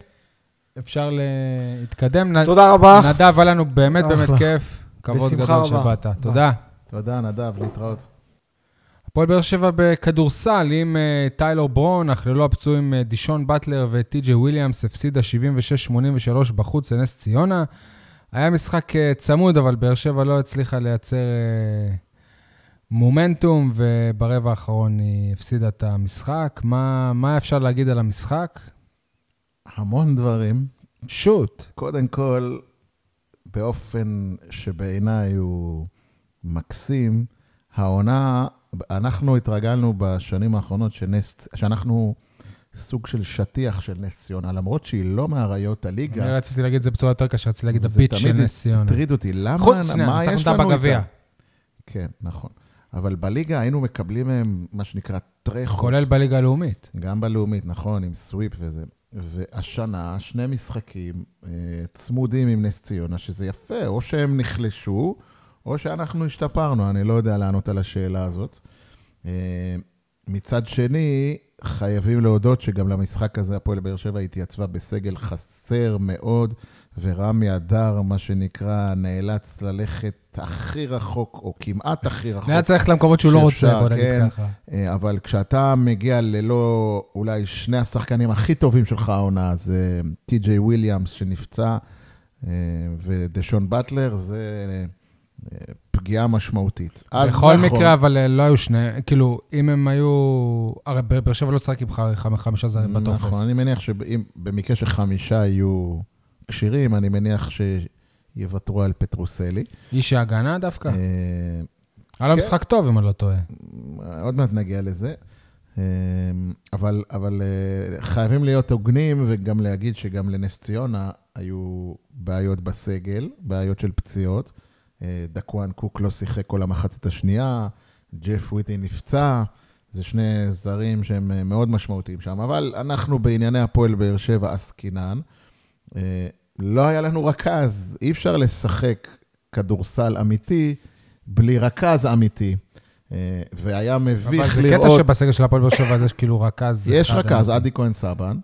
אפשר להתקדם. נ- תודה רבה. נדב, היה לנו באמת באמת אחלה. כיף. כבוד בשמחה גדול רבה. שבאת. ביי. תודה. תודה, נדב, להתראות. הפועל באר שבע בכדורסל עם אה, טיילור ברון, אך ללא הפצועים אה, דישון באטלר וטי.ג'י וויליאמס, הפסידה 76-83 בחוץ לנס ציונה. היה משחק אה, צמוד, אבל באר שבע לא הצליחה לייצר אה, מומנטום, וברבע האחרון היא הפסידה את המשחק. מה, מה אפשר להגיד על המשחק? המון דברים. שוט. קודם כל, באופן שבעיניי הוא מקסים, העונה, אנחנו התרגלנו בשנים האחרונות שנס, שאנחנו סוג של שטיח של נס ציונה, למרות שהיא לא מאריות אני הליגה. רציתי להגיד את זה בצורה יותר קשה, רציתי להגיד זה הביט של תמיד נס ציונה. הטריד אותי, למה, חוץ, שנייה, מה ניצחנו יש אותה לנו בגביע. איתה? כן, נכון. אבל בליגה היינו מקבלים מהם, מה שנקרא, טרחות. כולל בליגה הלאומית. גם בלאומית, נכון, עם סוויפ וזה. והשנה, שני משחקים אה, צמודים עם נס ציונה, שזה יפה, או שהם נחלשו, או שאנחנו השתפרנו, אני לא יודע לענות על השאלה הזאת. אה, מצד שני, חייבים להודות שגם למשחק הזה הפועל באר שבע התייצבה בסגל חסר מאוד, ורמי אדר, מה שנקרא, נאלץ ללכת הכי רחוק, או כמעט הכי רחוק. היה צריך למקומות שהוא לא רוצה, נכון. שאפשר, בוא נגיד כן. ככה. אה, אבל כשאתה מגיע ללא אולי שני השחקנים הכי טובים שלך העונה, זה טי.ג'יי וויליאמס שנפצע, אה, ודשון באטלר, זה אה, פגיעה משמעותית. אז בכל נכון, מקרה, אבל אה, לא היו שני, כאילו, אם הם היו... הרי באר באר שבע לא צריך עם ח- חמ- חמישה זרים נכון, בטופס. אני מניח שבמקרה שחמישה יהיו כשירים, אני מניח שיוותרו על פטרוסלי. איש ההגנה דווקא. אה, היה לו כן. משחק טוב, אם אני לא טועה. עוד מעט נגיע לזה. אמ, אבל, אבל אה, חייבים להיות הוגנים וגם להגיד שגם לנס ציונה היו בעיות בסגל, בעיות של פציעות. אה, דקואן קוק לא שיחק כל המחצית השנייה, ג'ף וויטי נפצע, זה שני זרים שהם אה, מאוד משמעותיים שם. אבל אנחנו בענייני הפועל באר שבע עסקינן. אה, לא היה לנו רכז, אי אפשר לשחק כדורסל אמיתי בלי רכז אמיתי. אה, והיה אבל מביך זה לראות... קטע שבסגל של הפועל באר שבע אז יש כאילו רכז. יש אחד, רכז, אה, עדי כהן סבן.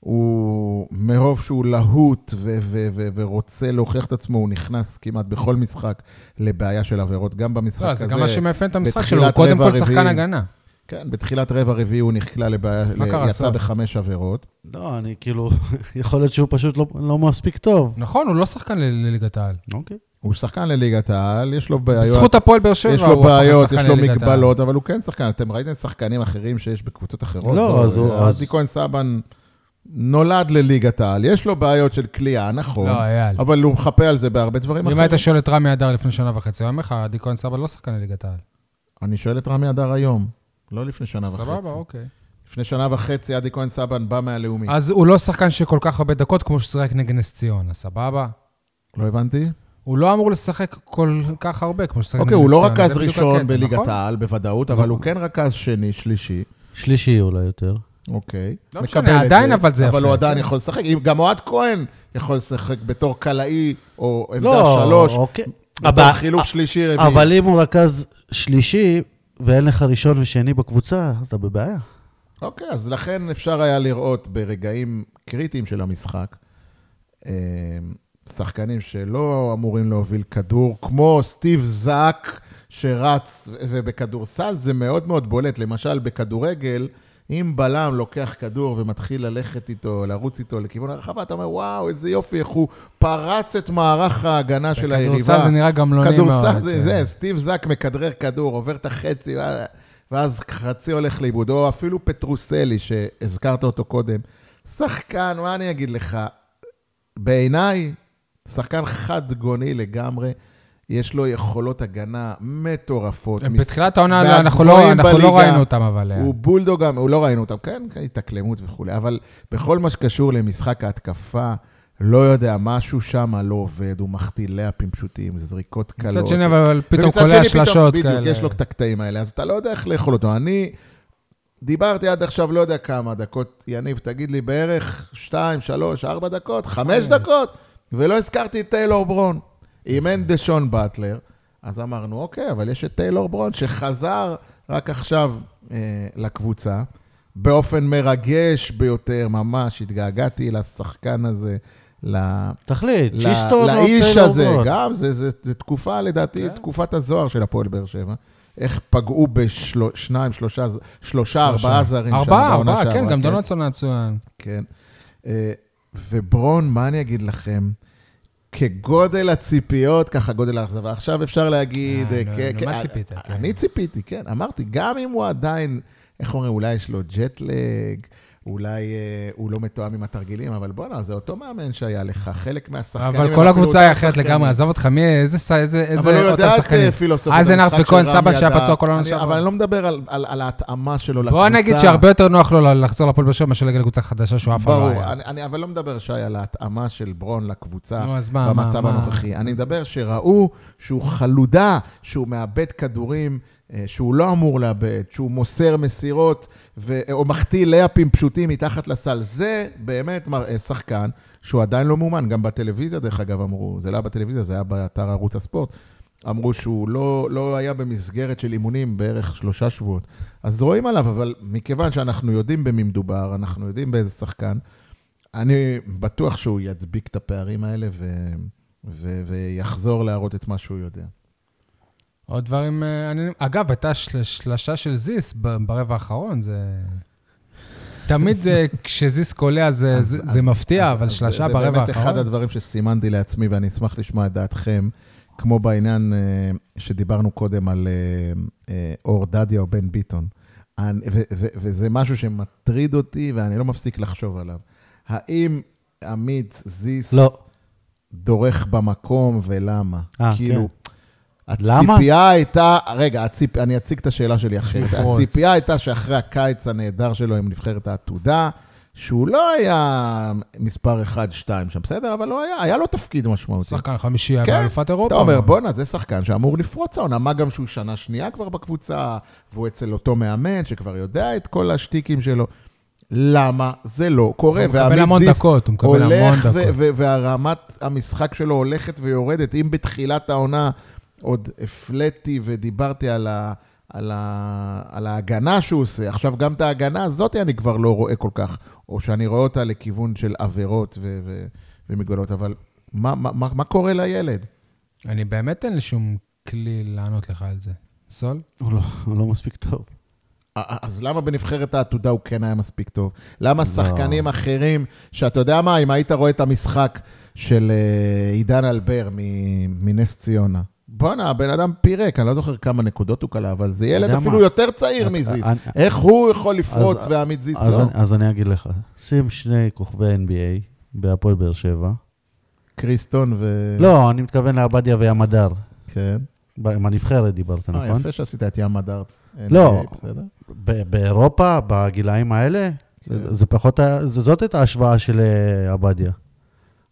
הוא, מרוב שהוא להוט ו- ו- ו- ורוצה להוכיח את עצמו, הוא נכנס כמעט בכל משחק לבעיה של עבירות, גם במשחק לא, הזה. זה גם מה שמאפיין את המשחק שלו, הוא בתחילת קודם רבע כל שחקן רביעי. הגנה. כן, בתחילת רבע רביעי הוא נקלע לבעיה, מה ל- קרה, יצא סער? בחמש עבירות. לא, אני כאילו, יכול להיות שהוא פשוט לא, לא מספיק טוב. נכון, הוא לא שחקן ל- לליגת העל. אוקיי. הוא שחקן לליגת העל, יש לו בעיות. בזכות הפועל באר שבע יש הוא לו הפך בעיות, לשחקן יש לו לליגת העל. מגבלות, אבל הוא כן שחקן. אתם ראיתם שחקנים אחרים שיש בקבוצות אחרות? לא, אז הוא- אז- ארזי כהן סבן נולד לליגת העל, יש לו בעיות של כליאה, נכון, לא, אייל. אבל הוא מחפה על זה בהרבה דברים אם היית אחרים. שואל את רמי אדר לפני שנה וחצי, הוא היה אומר לך, עדי כהן סבא לא שחקן לליגת העל. אני שואל את רמי אדר היום, לא לפני שנה וחצי. סבבה, אוקיי. לפני שנה וחצי עדי כהן סבן בא מהלאומי. אז הוא לא שחקן שכל כך הרבה דקות כמו ששיחק נגד נס ציונה, סבבה? לא הבנתי. הוא לא אמור לשחק כל כך הרבה כמו ששיחק נגד נס אוקיי, ציונה. הוא לא רכז זה בדיוק ראשון הקטע, בליגת נכון? העל, בוודאות, אבל הוא כן רכז שני, שלישי, שלישי אולי יותר. אוקיי. לא מקבל משנה, את עדיין אבל זה אבל יפה, הוא עדיין כן. יכול לשחק. אם גם אוהד כהן יכול לשחק בתור קלעי, או עמדה לא, שלוש, אוקיי. בתור אבל- חילוף שלישי, רביעי. אבל אם הוא רכז שלישי ואין לך ראשון ושני בקבוצה, אתה בבעיה. אוקיי, אז לכן אפשר היה לראות ברגעים קריטיים של המשחק, אה, שחקנים שלא אמורים להוביל כדור, כמו סטיב זאק שרץ, ו- ובכדורסל זה מאוד מאוד בולט. למשל, בכדורגל, אם בלם לוקח כדור ומתחיל ללכת איתו, לרוץ איתו לכיוון הרחבה, אתה אומר, וואו, איזה יופי, איך הוא פרץ את מערך ההגנה של היריבה. בכדורסל זה נראה גם לא נעים מאוד. כדורסל זה, כן. זה, סטיב זק מכדרר כדור, עובר את החצי, ואז- ואז חצי הולך לאיבוד, או אפילו פטרוסלי, שהזכרת אותו קודם. שחקן, מה אני אגיד לך? בעיניי, שחקן חד-גוני לגמרי. יש לו יכולות הגנה מטורפות. מס- בתחילת העונה אנחנו לא מהגבוהים אנחנו לא בליגה. ראינו אותם, אבל... הוא בולדוג, גם- הוא לא ראינו אותם, כן, כן, התאקלמות וכולי, אבל בכל מה שקשור למשחק ההתקפה, לא יודע, משהו שם לא עובד, הוא מחטיא לאפים פשוטים, זריקות קלות. מצד שני, אבל פתאום אוקיי. ומצד קולע שני, פתאום- שלשות כאלה. בדיוק, יש לו את הקטעים האלה, אז אתה לא יודע איך לאכול אותו. אני דיברתי עד עכשיו לא יודע כמה דקות, יניב, תגיד לי, בערך 2, 3, 4 דקות, 5 דקות, ולא הזכרתי את טיילור ברון. אם אין דשון באטלר, אז אמרנו, אוקיי, אבל יש את טיילור ברון שחזר רק עכשיו אה, לקבוצה. באופן מרגש ביותר, ממש התגעגעתי לשחקן הזה, ל- תחליט, ל- שיסטון או לאיש טיילור הזה, ברון. גם, זה, זה, זה תקופה, לדעתי, כן. תקופת הזוהר של הפועל באר שבע. איך פגעו בשניים, שלושה, שלושה, ארבעה זרים שם ארבעה, בעונה ארבעה, כן, שעברה, גם דונלדסון היה מצוין. כן. אה, וברון, מה אני אגיד לכם? כגודל הציפיות, ככה גודל האכזבה. עכשיו אפשר להגיד... אה, אה, לא, כן, נו, כן, מה אה, ציפית? כן. אני ציפיתי, כן. אמרתי, גם אם הוא עדיין, איך אומרים, אולי יש לו ג'טלג, אולי אה, הוא לא מתואם עם התרגילים, אבל בואנה, זה אותו מאמן שהיה לך, חלק מהשחקנים... הם אבל כל אפילו הקבוצה אותם היא אחרת שחקנים. לגמרי, עזוב אותך, מי, איזה, ס- איזה, אבל הוא איזה אותם יודע את שחקנים. אה, פילוסופיית אייזנארט המשחק של וכהן רמי סבא שהיה אדר. פצוע כל העונה אני- שעברה. אבל אני לא מדבר על- על על ההתאמה שלו לקבוצה. בוא נגיד שהרבה יותר נוח לו ל- לחזור לפועל באר שבע מאשר לגל קבוצה חדשה שהוא אף פעם לא ברור, היה. אני- אני אבל לא מדבר, שי, על ההתאמה של ברון לקבוצה נו, אז מה, מה, במצב מה? הנוכחי. אני מדבר שראו שהוא חלודה, שהוא מאבד כדורים, אה, שהוא לא אמור לאבד, שהוא מוסר מסירות, ו- או מחטיא לאפים פשוטים מתחת לסל. זה באמת מראה שחקן שהוא עדיין לא מאומן. גם בטלוויזיה, דרך אגב, אמרו, זה לא היה בטלוויזיה, זה היה באתר ערוץ הספורט. אמרו שהוא לא, לא היה במסגרת של אימונים בערך שלושה שבועות. אז רואים עליו, אבל מכיוון שאנחנו יודעים במי מדובר, אנחנו יודעים באיזה שחקן, אני בטוח שהוא ידביק את הפערים האלה ו... ו... ויחזור להראות את מה שהוא יודע. עוד דברים אה, עניינים. אגב, הייתה של- שלשה של זיס ב- ברבע האחרון, זה... תמיד זה- כשזיס קולע זה- זה זה מפתיע, אבל אז שלשה ברבע זה באמת אחד האחרון. הדברים שסימנתי לעצמי, ואני אשמח לשמוע את דעתכם, כמו בעניין אה, שדיברנו קודם על אה, אה, אור דדיה או בן ביטון. אני- ו- ו- וזה משהו שמטריד אותי, ואני לא מפסיק לחשוב עליו. האם עמית זיס לא. דורך במקום ולמה? אה, כן. כאילו, למה? הציפייה הייתה, רגע, הציפ... אני אציג את השאלה שלי אחרת. לפרוץ. הציפייה הייתה שאחרי הקיץ הנהדר שלו עם נבחרת העתודה, שהוא לא היה מספר 1-2 שם, בסדר? אבל לא היה, היה לו תפקיד משמעותי. שחקן חמישי היה כן, באלופת אירופה. אתה אומר, בואנה, זה שחקן שאמור לפרוץ העונה, מה גם שהוא שנה שנייה כבר בקבוצה, והוא אצל אותו מאמן שכבר יודע את כל השטיקים שלו. למה זה לא קורה? הוא מקבל ועמית המון זיס דקות, הוא מקבל המון הולך, ו- דקות. ו- והרמת המשחק שלו הולכת ויורדת. אם בתחילת העונה עוד הפלאתי ודיברתי על, ה- על, ה- על ההגנה שהוא עושה, עכשיו גם את ההגנה הזאת אני כבר לא רואה כל כך, או שאני רואה אותה לכיוון של עבירות ו- ו- ומגבלות, אבל מה, מה, מה, מה קורה לילד? אני באמת אין לי שום כלי לענות לך על זה. סול? הוא לא- הוא לא מספיק טוב. אז למה בנבחרת העתודה הוא כן היה מספיק טוב? למה לא. שחקנים אחרים, שאתה יודע מה, אם היית רואה את המשחק של אה, עידן אלבר מ- מנס ציונה, בואנה, הבן אדם פירק, אני לא זוכר כמה נקודות הוא כלה, אבל זה ילד יודע מה? אפילו יותר צעיר אני- מזיס. אני- איך הוא יכול לפרוץ אז- ועמית זיס אז לא? אני- אז אני אגיד לך, שים שני כוכבי NBA בהפועל באר שבע. קריסטון ו... לא, אני מתכוון לעבדיה וים הדר. כן. ב- עם הנבחרת דיברת, אה, נכון? יפה שעשית את ים הדר. לא. NBA, בסדר? ב- באירופה, בגילאים האלה, כן. זה פחות, ה- זה- זאת הייתה ההשוואה של אה, עבדיה.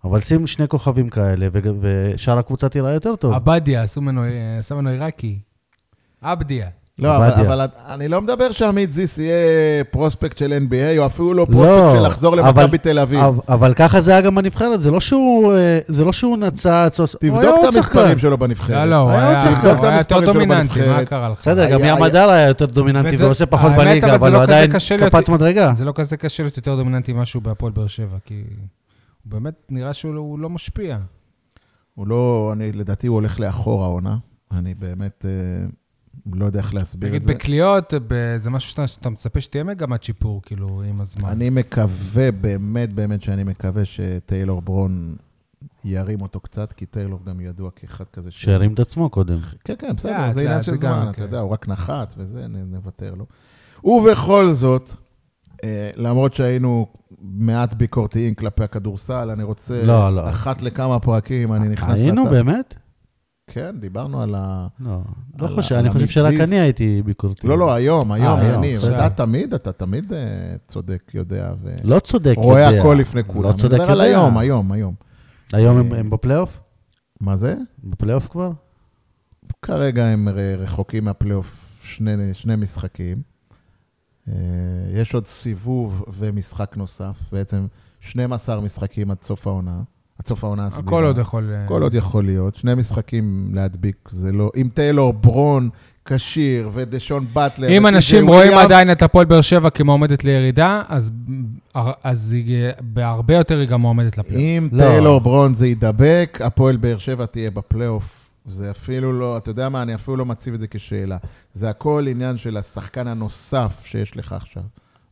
אבל שים שני כוכבים כאלה, וג- ושאר הקבוצה תיראה יותר טוב. עבדיה, עשו ממנו- אה, עשה ממנו עיראקי. עבדיה. לא, אבל, עבדיה. אבל את- אני לא מדבר שעמית זיס יהיה פרוספקט של NBA, או אפילו לא פרוספקט של לחזור למכבי אבל- תל אביב. אבל- אבל ככה זה היה גם בנבחרת, זה לא שהוא, אה, זה לא שהוא נצץ, או- הוא היה תבדוק עוד את המספרים שחקן. שלו בנבחרת. לא, לא, הוא היה היה צריך לבדוק את הוא היה יותר המספרים שלו דומיננטי, מה בנבחרת. קרה לך? בסדר, גם היה- ים הדר היה יותר דומיננטי וזה- ועושה פחות האמת, בליגה, אבל זה אבל הוא לא כזה עדיין קשה להיות- קפץ מדרגה. זה לא כזה קשה להיות יותר דומיננטי משהו בהפועל באר שבע, כי הוא באמת נראה שהוא לא- הוא לא משפיע. הוא לא, אני, לדעתי הוא הולך לאחור העונה. אני באמת אה, לא יודע איך להסביר את נגיד זה. בקליעות, ב- זה משהו שאתה- שאתה מצפה שתהיה מגמת שיפור, כאילו, עם הזמן. אני מקווה, באמת באמת שאני מקווה שטיילור ברון ירים אותו קצת, כי טיילור גם ידוע כאחד כזה ש... שהרים את עצמו קודם. כן, כן, בסדר, לאט, זה עניין לאט, של זה גם, זמן, אתה כן. יודע, הוא רק נחת וזה, נ- נוותר לו. ובכל זאת, אה, למרות שהיינו מעט ביקורתיים כלפי הכדורסל, אני רוצה, לא, לא. אחת לכמה פרקים, אני נכנס... היינו לת- באמת? כן, דיברנו על ה... לא, לא על חושב, ה- על אני חושב שרק המזיז. אני הייתי ביקורתי. לא, לא, היום, היום, כן. אה, היום, יניב. בסדר. אתה תמיד, אתה תמיד אה, צודק, יודע, ו- לא צודק, יודע. רואה הכל לפני כולם. לא צודק, אני מדבר על יודע. היום, היום, היום. היום הם- הם בפלייאוף? מה זה? בפלייאוף כבר? כרגע הם ר- רחוקים מהפלייאוף שני, שני משחקים. אה, יש עוד סיבוב ומשחק נוסף, בעצם 12 משחקים עד סוף העונה. עד סוף העונה הסדירה. הכל עוד יכול... אה, הכל עוד יכול להיות. שני משחקים להדביק, זה לא... אם טיילור ברון כשיר ודשון באטלר... אם וטי.ג'יי אנשים רואים וויליאם, עדיין את הפועל באר שבע כמועמדת לירידה, אז- אז היא בהרבה יותר היא גם מועמדת לפלייאוף. אם לא. טיילור ברון זה יידבק, הפועל באר שבע תהיה בפלייאוף. זה אפילו לא, אתה יודע מה, אני אפילו לא מציב את זה כשאלה. זה הכל עניין של השחקן הנוסף שיש לך עכשיו.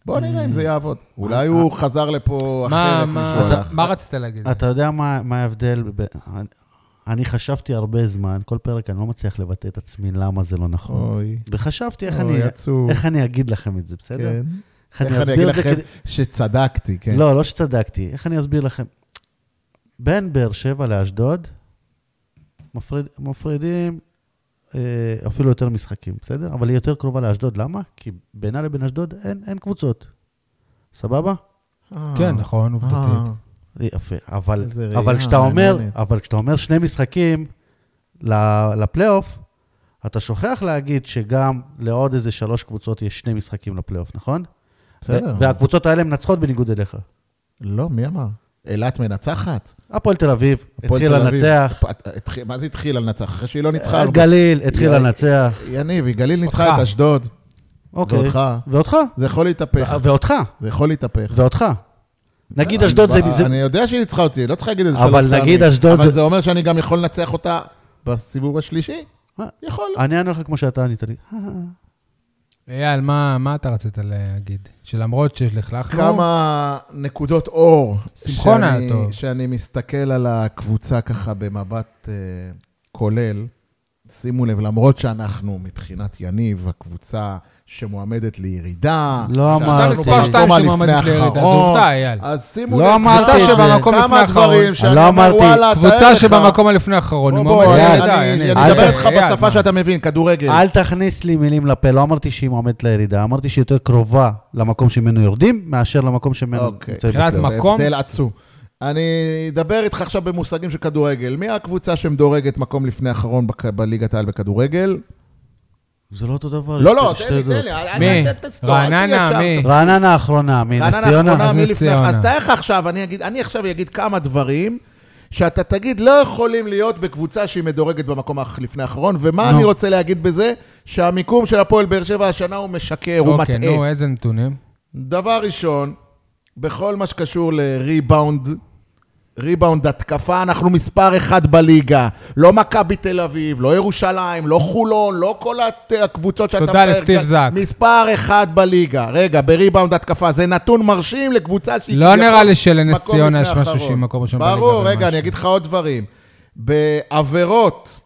בוא נראה אם זה יעבוד. אולי הוא חזר לפה מה- אחרת משהו מה הלך. מה רצית כן. להגיד? אתה יודע מה מה ההבדל? ב- אני- אני חשבתי הרבה זמן, כל פרק אני לא מצליח לבטא את עצמי למה זה לא נכון. אוי, וחשבתי איך אני- אוי, עצוב. איך אני אגיד לכם את זה, בסדר? לא, כן. איך איך אני אני אסביר אגיד את זה לכם כדי... שצדקתי, כן. לא, לא שצדקתי. איך אני אסביר לכם? בין באר שבע לאשדוד מפריד, מפרידים אה, אפילו יותר משחקים, בסדר? אבל היא יותר קרובה לאשדוד. למה? כי בינה לבין אשדוד אין, אין קבוצות. סבבה? אה, כן, נכון, עובדתית. אה, יפה. אבל, איזה אבל, ראייה כשאתה אומר, מעניינת. אבל כשאתה אומר שני משחקים ל- לפלייאוף, אתה שוכח להגיד שגם לעוד איזה שלוש קבוצות יש שני משחקים לפלייאוף, נכון? בסדר. ו- והקבוצות האלה מנצחות בניגוד אליך. לא, מי אמר? אילת מנצחת? הפועל תל אביב הפועל התחילה תל אביב. לנצח, אה, פ- התחיל- מה זה התחילה לנצח? אחרי שהיא לא ניצחה הרבה. הגליל התחילה יא- לנצח, יניב, היא גליל ניצחה אותך. את אשדוד, אוקיי. ואותך. ואותך. זה יכול להתהפך. ו- ואותך, זה יכול להתהפך. ואותך. נגיד אשדוד זה... זה- אה, אני יודע שהיא ניצחה אותי, לא צריך להגיד את זה אבל שלוש פעמים. נגיד אשדוד אבל זה- זה אומר שאני גם יכול לנצח אותה בסיבוב השלישי? מה? יכול. אני אענה לך כמו שאתה ענית לי. אה, אייל, מה מה אתה רצית להגיד? שלמרות אה, שלכלכנו... כמה נקודות אור. שמחון היה שאני- טוב. שאני מסתכל על הקבוצה ככה במבט אה, כולל. שימו לב, למרות שאנחנו מבחינת יניב, הקבוצה שמועמדת לירידה. לא קבוצה אמרתי. מספר 2 מקום שמועמדת הלפני לירידה, זו האחרון. עובדה, אייל. אז שימו לא לב, אמרתי קבוצה את זה. שבמקום לפני כמה האחרון. דברים שאני לא אומר, אמרתי. וואלה, תאר לך. קבוצה שבמקום לפני האחרון, היא בוא, בוא, מועמדת אני- לירידה. אני אני יניב. מדבר אייל, איתך אייל, בשפה מה? שאתה מבין, כדורגל. כן. אל תכניס לי מילים לפה, לא אמרתי שהיא מועמדת לירידה, אמרתי שהיא יותר קרובה למקום שממנו יורדים, מאשר למקום שממנו אוקיי. נמצאים מבחינת בפלייאוף. מה- מקום? הבדל עצום. אני אדבר איתך עכשיו במושגים של כדורגל. מי הקבוצה שמדורגת מקום לפני האחרון בק- בליגת העל בכדורגל? זה לא אותו דבר. יש לא, לא, שתי תן לי, עדות. תן לי. אל- אל- מי? אל תסתור, אל תהיה רעננה, שם. מי? רעננה האחרונה, מנס רעננה ציונה. האחרונה, אז מי נס לפני? ציונה. אז תאר לך עכשיו, אני אגיד, אני עכשיו אגיד כמה דברים. שאתה תגיד, לא יכולים להיות בקבוצה שהיא מדורגת במקום האח- לפני האחרון, ומה נו. אני רוצה להגיד בזה? שהמיקום של הפועל באר שבע השנה הוא משקר, הוא מטעה. אוקיי, נו, איזה נתונים? דבר ראשון, בכל מה שקשור לריבאונד, ריבאונד, התקפה, אנחנו מספר אחד בליגה. לא מכבי תל אביב, לא ירושלים, לא חולון, לא כל הת- הקבוצות שאתה... תודה מתאר לסטיב כאן. זאק. מספר אחד בליגה. רגע, בריבאונד התקפה, זה נתון מרשים לקבוצה שהיא... לא כביכול נראה לי שלנס מקום ציונה לפני יש משהו האחרון. שהיא מקום ראשון בליגה ברור, ומשהו. רגע, אני אגיד לך עוד דברים. בעבירות,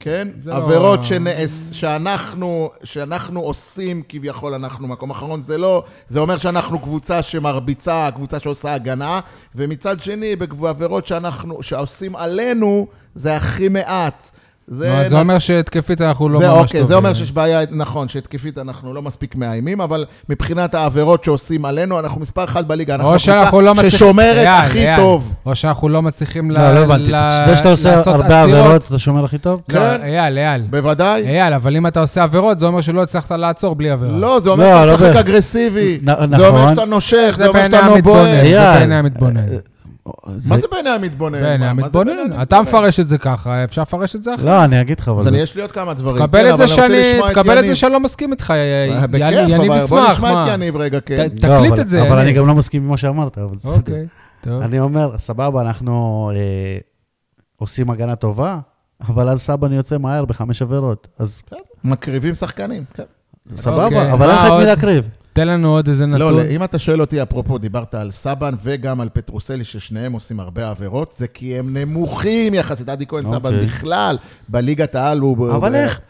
כן? זה לא- עבירות שנעש, שאנחנו, שאנחנו עושים כביכול, אנחנו מקום אחרון, זה לא, זה אומר שאנחנו קבוצה שמרביצה, קבוצה שעושה הגנה, ומצד שני, בעבירות שאנחנו, שעושים עלינו, זה הכי מעט. זה, נו, אז זה אומר שהתקפית אנחנו לא ממש זה טובים. אוקיי, זה אומר שיש בעיה, נכון, שהתקפית אנחנו לא מספיק מאיימים, אבל מבחינת העבירות שעושים עלינו, אנחנו מספר אחת בליגה. אנחנו או שאנחנו לא מצליחים... ששומרת אייל, הכי אייל. טוב. או שאנחנו לא מצליחים ל- לא, לא הבנתי. ל- זה שאתה עושה לעשות הרבה עצירות. עבירות, אתה שומר הכי טוב? לא, כן. אייל, אייל. בוודאי. אייל, אבל אם אתה עושה עבירות, זה אומר שלא הצלחת לעצור בלי עבירה. לא, זה אומר לא, שאתה לא משחק בהכרח. אגרסיבי. נ- זה אומר נכון. שאתה נושך, זה זה אומר בעיני שאתה לא המתבונן, בועט. זה אייל. בעיני המתבונן. מה זה בעיני המתבונן? בעיני מה- מה זה המתבונן. בעיני אתה המתבונן? מפרש את זה ככה, אפשר לפרש את זה אחרת. לא, אני אגיד לך, אבל... אז זה- אני, יש לי עוד כמה דברים. תקבל כן, את זה אבל אני רוצה שאני, לשמוע תקבל את יניב. זה שאני לא מסכים איתך, אה, יניב בכיף, יניב אבל ישמח, מה? בוא נשמע את יניב רגע, כן. ת- לא, תקליט אבל- את זה, אבל יניב. אני גם לא מסכים עם מה שאמרת. אבל בסדר. אוקיי, טוב. אני אומר, סבבה, אנחנו אה, עושים הגנה טובה, אבל אז סבן יוצא מהר בחמש עבירות. אז מקריבים שחקנים, כן. אוקיי, סבבה, אבל אין מה לך את עוד? מי להקריב. תן לנו עוד איזה לא, נתון. לא, אם אתה שואל אותי, אפרופו, דיברת על סבן וגם על פטרוסלי, ששניהם עושים הרבה עבירות, זה כי הם נמוכים יחסית. עדי כהן סבן אוקיי. בכלל, בליגת העל הוא... אבל איך?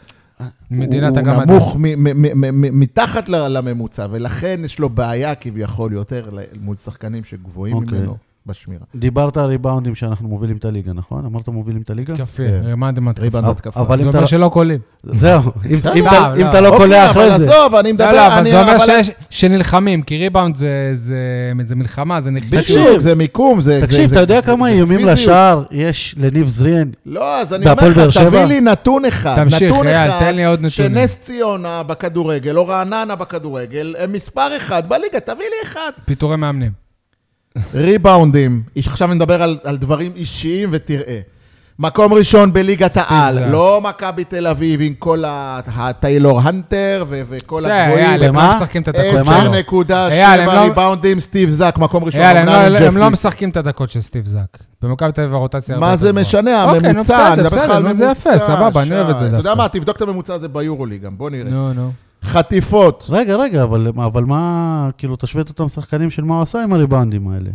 מדינת הוא הגמד. נמוך מ- מ- מ- מ- מ- מתחת ל- לממוצע, ולכן יש לו בעיה כביכול יותר ל- מול שחקנים שגבוהים אוקיי. ממנו בשמירה. דיברת על ריבאונדים שאנחנו מובילים את הליגה, נכון? אמרת מובילים את הליגה? יפה, כן. רימנדם התקפה. ריבאונד אבל- התקפה. אבל זה אם אתה... לא- אומר שלא קולים. זהו, אם בסדר, אם אתה- לא, אם אתה לא. לא אוקיי, קולע אחרי אבל זה. עזוב, אני מדבר... לא, לא, אבל אני- זה אומר אבל- שיש- שנלחמים, כי ריבאונד זה- זה זה מלחמה, זה כאילו נכנסים. בדיוק, זה מיקום, זה... זה- תקשיב, זה- אתה יודע זה- כמה זה איומים פיזיות. לשער יש לניב זריאן? לא, אז אני אומר בהפועל באר לך, תביא שבע? לי נתון אחד. תמשיך, נתון אייל, אחד תן לי עוד נתונים. שנס ציונה בכדורגל, או רעננה בכדורגל, הם מספר אחד בליגה, תביא לי אחד. פיטורי מאמנים. ריבאונדים, איש- עכשיו אני מדבר על, על דברים אישיים ותראה. מקום ראשון בליגת זאק. העל, לא מכבי תל אביב עם כל ה- הטיילור הנטר ו- וכל זה, הגבוהים. אייל, הם לא במה? משחקים את הדקות במה? שלו. 10.7 אייל, הם לא- ריבאונדים, סטיב זאק, מקום ראשון. יאללה, הם אמנם עם לא- הם ג'פרי. לא משחקים את הדקות של סטיב זאק. במכבי תל אביב הרוטציה הרבה מה יותר זה גבוהה. משנה? אוקיי, נו, הממוצע, אני בסדר, מדבר לך בסדר, על נו, זה יפה, ממוצע, סבבה, אני אוהב את שי. זה אתה יודע דווקא. מה, תבדוק את הממוצע הזה ביורוליג גם, בוא נראה. נו, נו. חטיפות. רגע, רגע, אבל, אבל מה, כאילו, תשווה את אותם שחקנים של מה הוא עשה עם הריבאונדים האלה.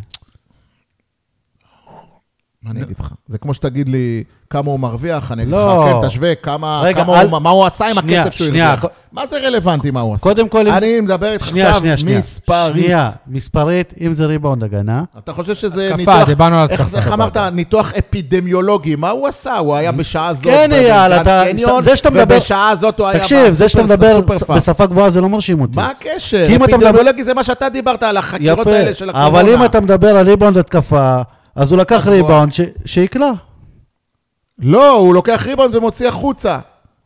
מה אני אגיד לך? זה כמו שתגיד לי כמה הוא מרוויח, אני אגיד לך, לא. כן, תשווה כמה, רגע, כמה אל- הוא, מה הוא עשה עם שנייה, הכסף שהוא שנייה, הרוויח. ק- מה זה רלוונטי מה הוא עשה? קודם כל, אם... אני מדבר איתך שנייה, עכשיו שנייה, שנייה. מספרית. שנייה, מספרית, אם זה ריבאונד הגנה, אתה חושב שזה התקפה, ניתוח... דיברנו על איך התקפה. איך אמרת? ניתוח אפידמיולוגי. מה הוא עשה? הוא היה בשעה זאת... כן, בגן אייל, אתה- קניון, זה שאתה מדבר- ובשעה זאת הוא היה... תקשיב, זה שאתה בסופר- מדבר סופר ס- פארם. בשפה גבוהה זה לא מרשים אותי. מה הקשר? כי אם אתה מדבר- אפידמיולוגי זה מה שאתה דיברת על החקירות האלה של הקורונה. אבל אם אתה מדבר על ריבאונד התקפה, אז הוא לקח ריבאונד ש- שיקלע. לא, הוא לוקח ריבאונד ומוציא החוצה.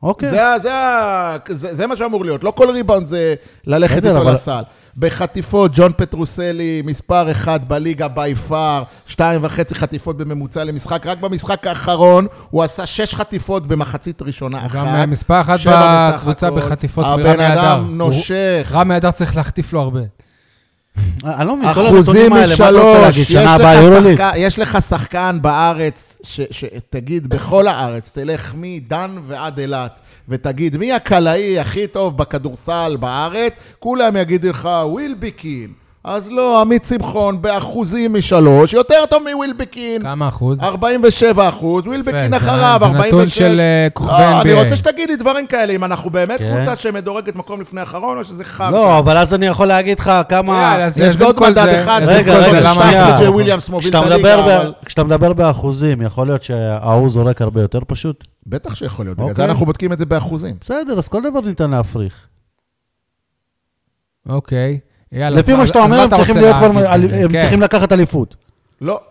אוקיי. זה, ה- זה, ה- זה, זה מה שאמור להיות. לא כל ריבאונד זה ללכת בסדר, איתו אבל- לסל. בחטיפות, ג'ון פטרוסלי, מספר אחת בליגה בי פאר, שתיים וחצי חטיפות בממוצע למשחק. רק במשחק האחרון הוא עשה שש חטיפות במחצית ראשונה אחת. גם אה, מספר אחת שבע בסך בקבוצה הכל. בחטיפות מרמי הבן אדר. אדם הוא- נושך. רמי אדר צריך להחטיף לו הרבה. אני לא מבין, כל אחוזים הנתונים האלה, מה אתה רוצה משלוש, להגיד, יש שנה לך הבאה יורוליג? שחקן- יש לך שחקן בארץ, ש- שתגיד, בכל הארץ, תלך מדן ועד אילת, ותגיד, מי הקלעי הכי טוב בכדורסל בארץ? כולם יגידו לך, ווילביקין. אז לא, עמית שמחון באחוזים משלוש, יותר טוב מווילביקין. כמה אחוז? אה. 47 אחוז, ווילבקין יפה, זה- אחריו, זה 46. נתון של, אה, כוכבי לא, אני NBA. רוצה שתגיד לי דברים כאלה, אם אנחנו באמת כן. קבוצה שמדורגת מקום לפני האחרון, או שזה חרטא. לא, אבל אז אני יכול להגיד לך כמה... יאללה, אז יש עזוב עוד כל מדד זה, אחד, עזוב רגע, כל זה, רגע, למה שנייה. אנחנו- זה וויליאמס מוביל את כשאתה הליגה, מדבר ב- אבל... כשאתה מדבר באחוזים, יכול להיות שההוא זורק הרבה יותר פשוט? בטח שיכול להיות, בגלל זה אוקיי. אנחנו בודקים את זה באחוזים. בסדר, אז כל דבר ניתן להפריך. אוקיי. יאללה, לפי אז מה שאתה אז אומר, הם אתה צריכים רוצה להיות כבר... להגיד את זה? הם כן. צריכים לקחת אליפות. לא.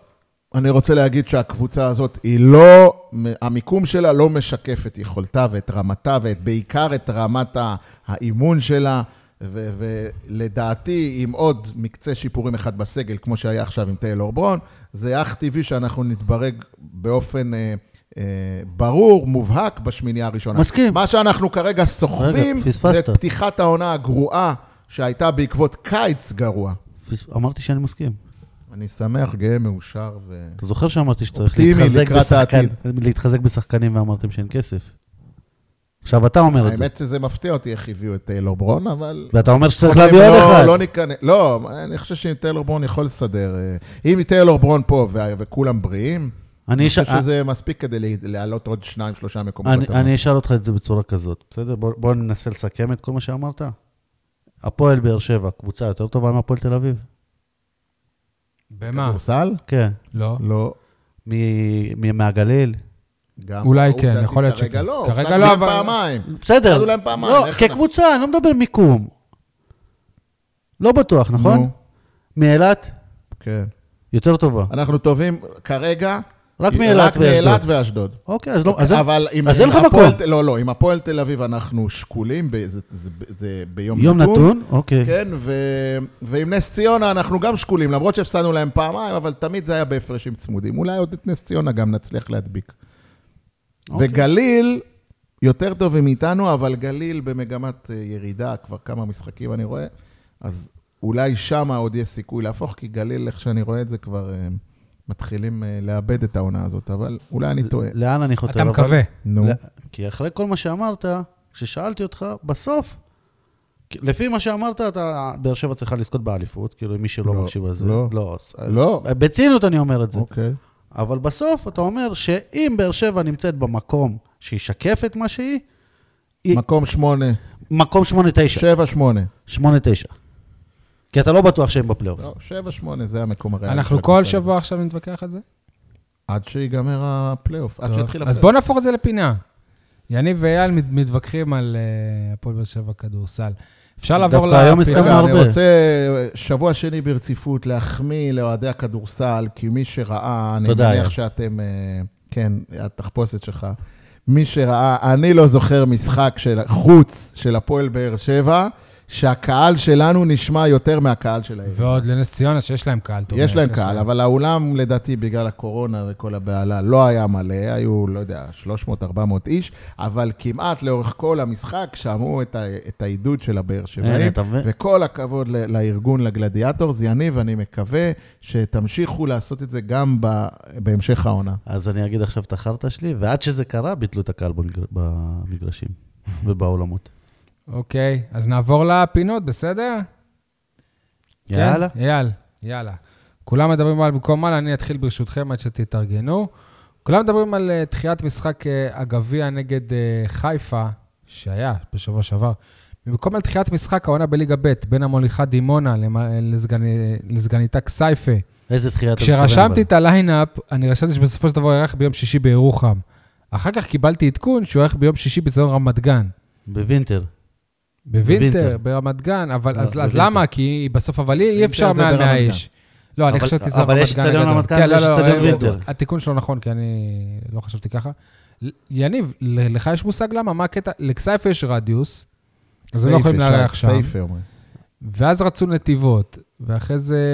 אני רוצה להגיד שהקבוצה הזאת היא לא, המיקום שלה לא משקף את יכולתה ואת רמתה, ואת בעיקר את רמת ה- האימון שלה, ו- ולדעתי, עם עוד מקצה שיפורים אחד בסגל, כמו שהיה עכשיו עם טיילור ברון, זה אך טבעי שאנחנו נתברג באופן אה, אה, ברור, מובהק, בשמינייה הראשונה. מסכים. מה שאנחנו כרגע סוחבים, רגע, זה פספסת. פתיחת העונה הגרועה, שהייתה בעקבות קיץ גרוע. פס- אמרתי שאני מסכים. אני שמח, גאה, מאושר, ו... אתה זוכר שאמרתי שצריך אופטימי להתחזק לקראת בשחקן, העתיד. להתחזק בשחקנים ואמרתם שאין כסף? עכשיו אתה אומר את זה, האמת שזה מפתיע אותי איך הביאו את טיילור ברון, אבל... ואתה אומר שצריך אומרים, להביא עוד לא, אחד. לא, ניכנס- לא, אני חושב שאם טיילור ברון יכול לסדר. אה, אם טיילור ברון פה ו- וכולם בריאים, אני אני אש- חושב שזה מספיק כדי לה- להעלות עוד שניים, שלושה מקומות. אני- בתמ"ל. אני אשאל אותך את זה בצורה כזאת, בסדר? בוא בוא ננסה לסכם את כל מה שאמרת. הפועל באר שבע, קבוצה יותר טובה מהפועל תל אביב? במה? כדורסל? כן. לא. לא. מ- מ- מהגליל? גם אולי עובדתית כן, יכול להיות כרגע שכן. לא, כרגע הופתעתי לא, מהם אבל- פעמיים. בסדר. הפסדנו להם פעמיים, לא, איך אנחנו- כקבוצה, אני לא מדבר מיקום. לא בטוח, נכון? נו, מאילת, כן. יותר טובה. אנחנו טובים כרגע... רק מאילת מאילת ואשדוד. ואשדוד. אוקיי, אז לא, אז אין- אבל אם... אז אין אם לך הפועל מקום. ת- לא, לא, עם הפועל תל אביב אנחנו שקולים, ב- זה- זה- זה ביום יום נתון, אוקיי. כן, ו... ועם נס ציונה אנחנו גם שקולים, למרות שהפסדנו להם פעמיים, אבל תמיד זה היה בהפרשים צמודים. אולי עוד את נס ציונה גם נצליח להדביק. אוקיי. וגליל, יותר טובים מאיתנו, אבל גליל במגמת אה, ירידה, כבר כמה משחקים אני רואה, אז אולי שמה עוד יש סיכוי להפוך, כי גליל, איך שאני רואה את זה, כבר אה, מתחילים אה, לאבד את העונה הזאת, אבל אולי אני טועה. לאן אני חותר? אתה אבל- מקווה. נו, לא, כי אחרי כל מה שאמרת, כששאלתי אותך, בסוף, כי- לפי מה שאמרת, אתה, באר שבע צריכה לזכות באליפות, כאילו, מי שלא לא, מקשיב לזה. לא. לא. אז- לא. בציניות אני אומר את זה. אוקיי. אבל בסוף אתה אומר שאם באר שבע נמצאת במקום שישקף את מה שהיא, היא- מקום שמונה, מקום 8-9. שבע שמונה. 8-9. כי אתה לא בטוח שהם בפלייאוף. לא, שבע שמונה זה המקום הריאלי. של אנחנו הקבוצה כל הזאת. שבוע עכשיו נתווכח על זה? עד שיגמר הפלייאוף, עד טוב. שיתחיל אז הפלייאוף. בואו נהפוך את זה לפינה. יניב ואייל מת- מתווכחים על אה, הפועל באר שבע כדורסל. אפשר לעבור דווקא היום לפינה. הסכמנו. רגע, הרבה. אני רוצה אה, שבוע שני ברציפות להחמיא לאוהדי הכדורסל, כי מי שראה, אני תודה, מניח יאיר. שאתם, אה, כן, התחפושת שלך, מי שראה, אני לא זוכר משחק של חוץ של הפועל באר שבע, שהקהל שלנו נשמע יותר מהקהל שלהם. ועוד לנס ציונה, שיש להם קהל תומך. יש להם קהל, אבל האולם, לדעתי, בגלל הקורונה וכל הבהלה, לא היה מלא, היו, לא יודע, 300-400 איש, אבל כמעט לאורך כל המשחק שמעו את ה- את העידוד של הבאר הנה, שבעים, אה, אתה מבין? וכל הכבוד ל- לארגון, לגלדיאטור, זה יניב, אני מקווה שתמשיכו לעשות את זה גם ב- בהמשך העונה. אז אני אגיד עכשיו את החרטא שלי, ועד שזה קרה, ביטלו את הקהל במגר- במגרשים ובאולמות. אוקיי, אז נעבור לפינות, בסדר? יאללה. כן, יאללה, יאללה. כולם מדברים על במקום על, אני אתחיל ברשותכם עד שתתארגנו. כולם מדברים על אה, דחיית משחק אה, הגביע נגד אה, חיפה, שהיה בשבוע שעבר. במקום על דחיית משחק העונה בליגה ב' בין המוליכה דימונה למ- אה, לסגני- לסגניתה כסייפה. איזה דחייה אתה מתכוון? כשרשמתי אבל? את הליינאפ, אני רשמתי שבסופו של דבר הוא יארח ביום שישי בירוחם. אחר כך קיבלתי עדכון שהוא יארח ביום שישי בצדון רמת גן. בווינטר. בווינטר, בווינטר. ברמת גן, אבל לא, אז אז בווינטר. למה? כי בסוף, אבל אי- אי וינטר אפשר זה מעל 100 ברמת גן. איש. לא, אני אבל- חשבתי שזה אבל רמת יש גן אצטדיון הגדול. רמת גן כן, לא, ויש לא, אצטדיון אה, וינטר. התיקון שלו נכון, כי אני לא חשבתי ככה. ל- יניב, ל- לך יש מושג למה? מה הקטע? לכסייפה יש רדיוס, אז הם לא סייפה, יכולים לארח שי- שם. סייפה אומרים. ואז רצו נתיבות, ואחרי זה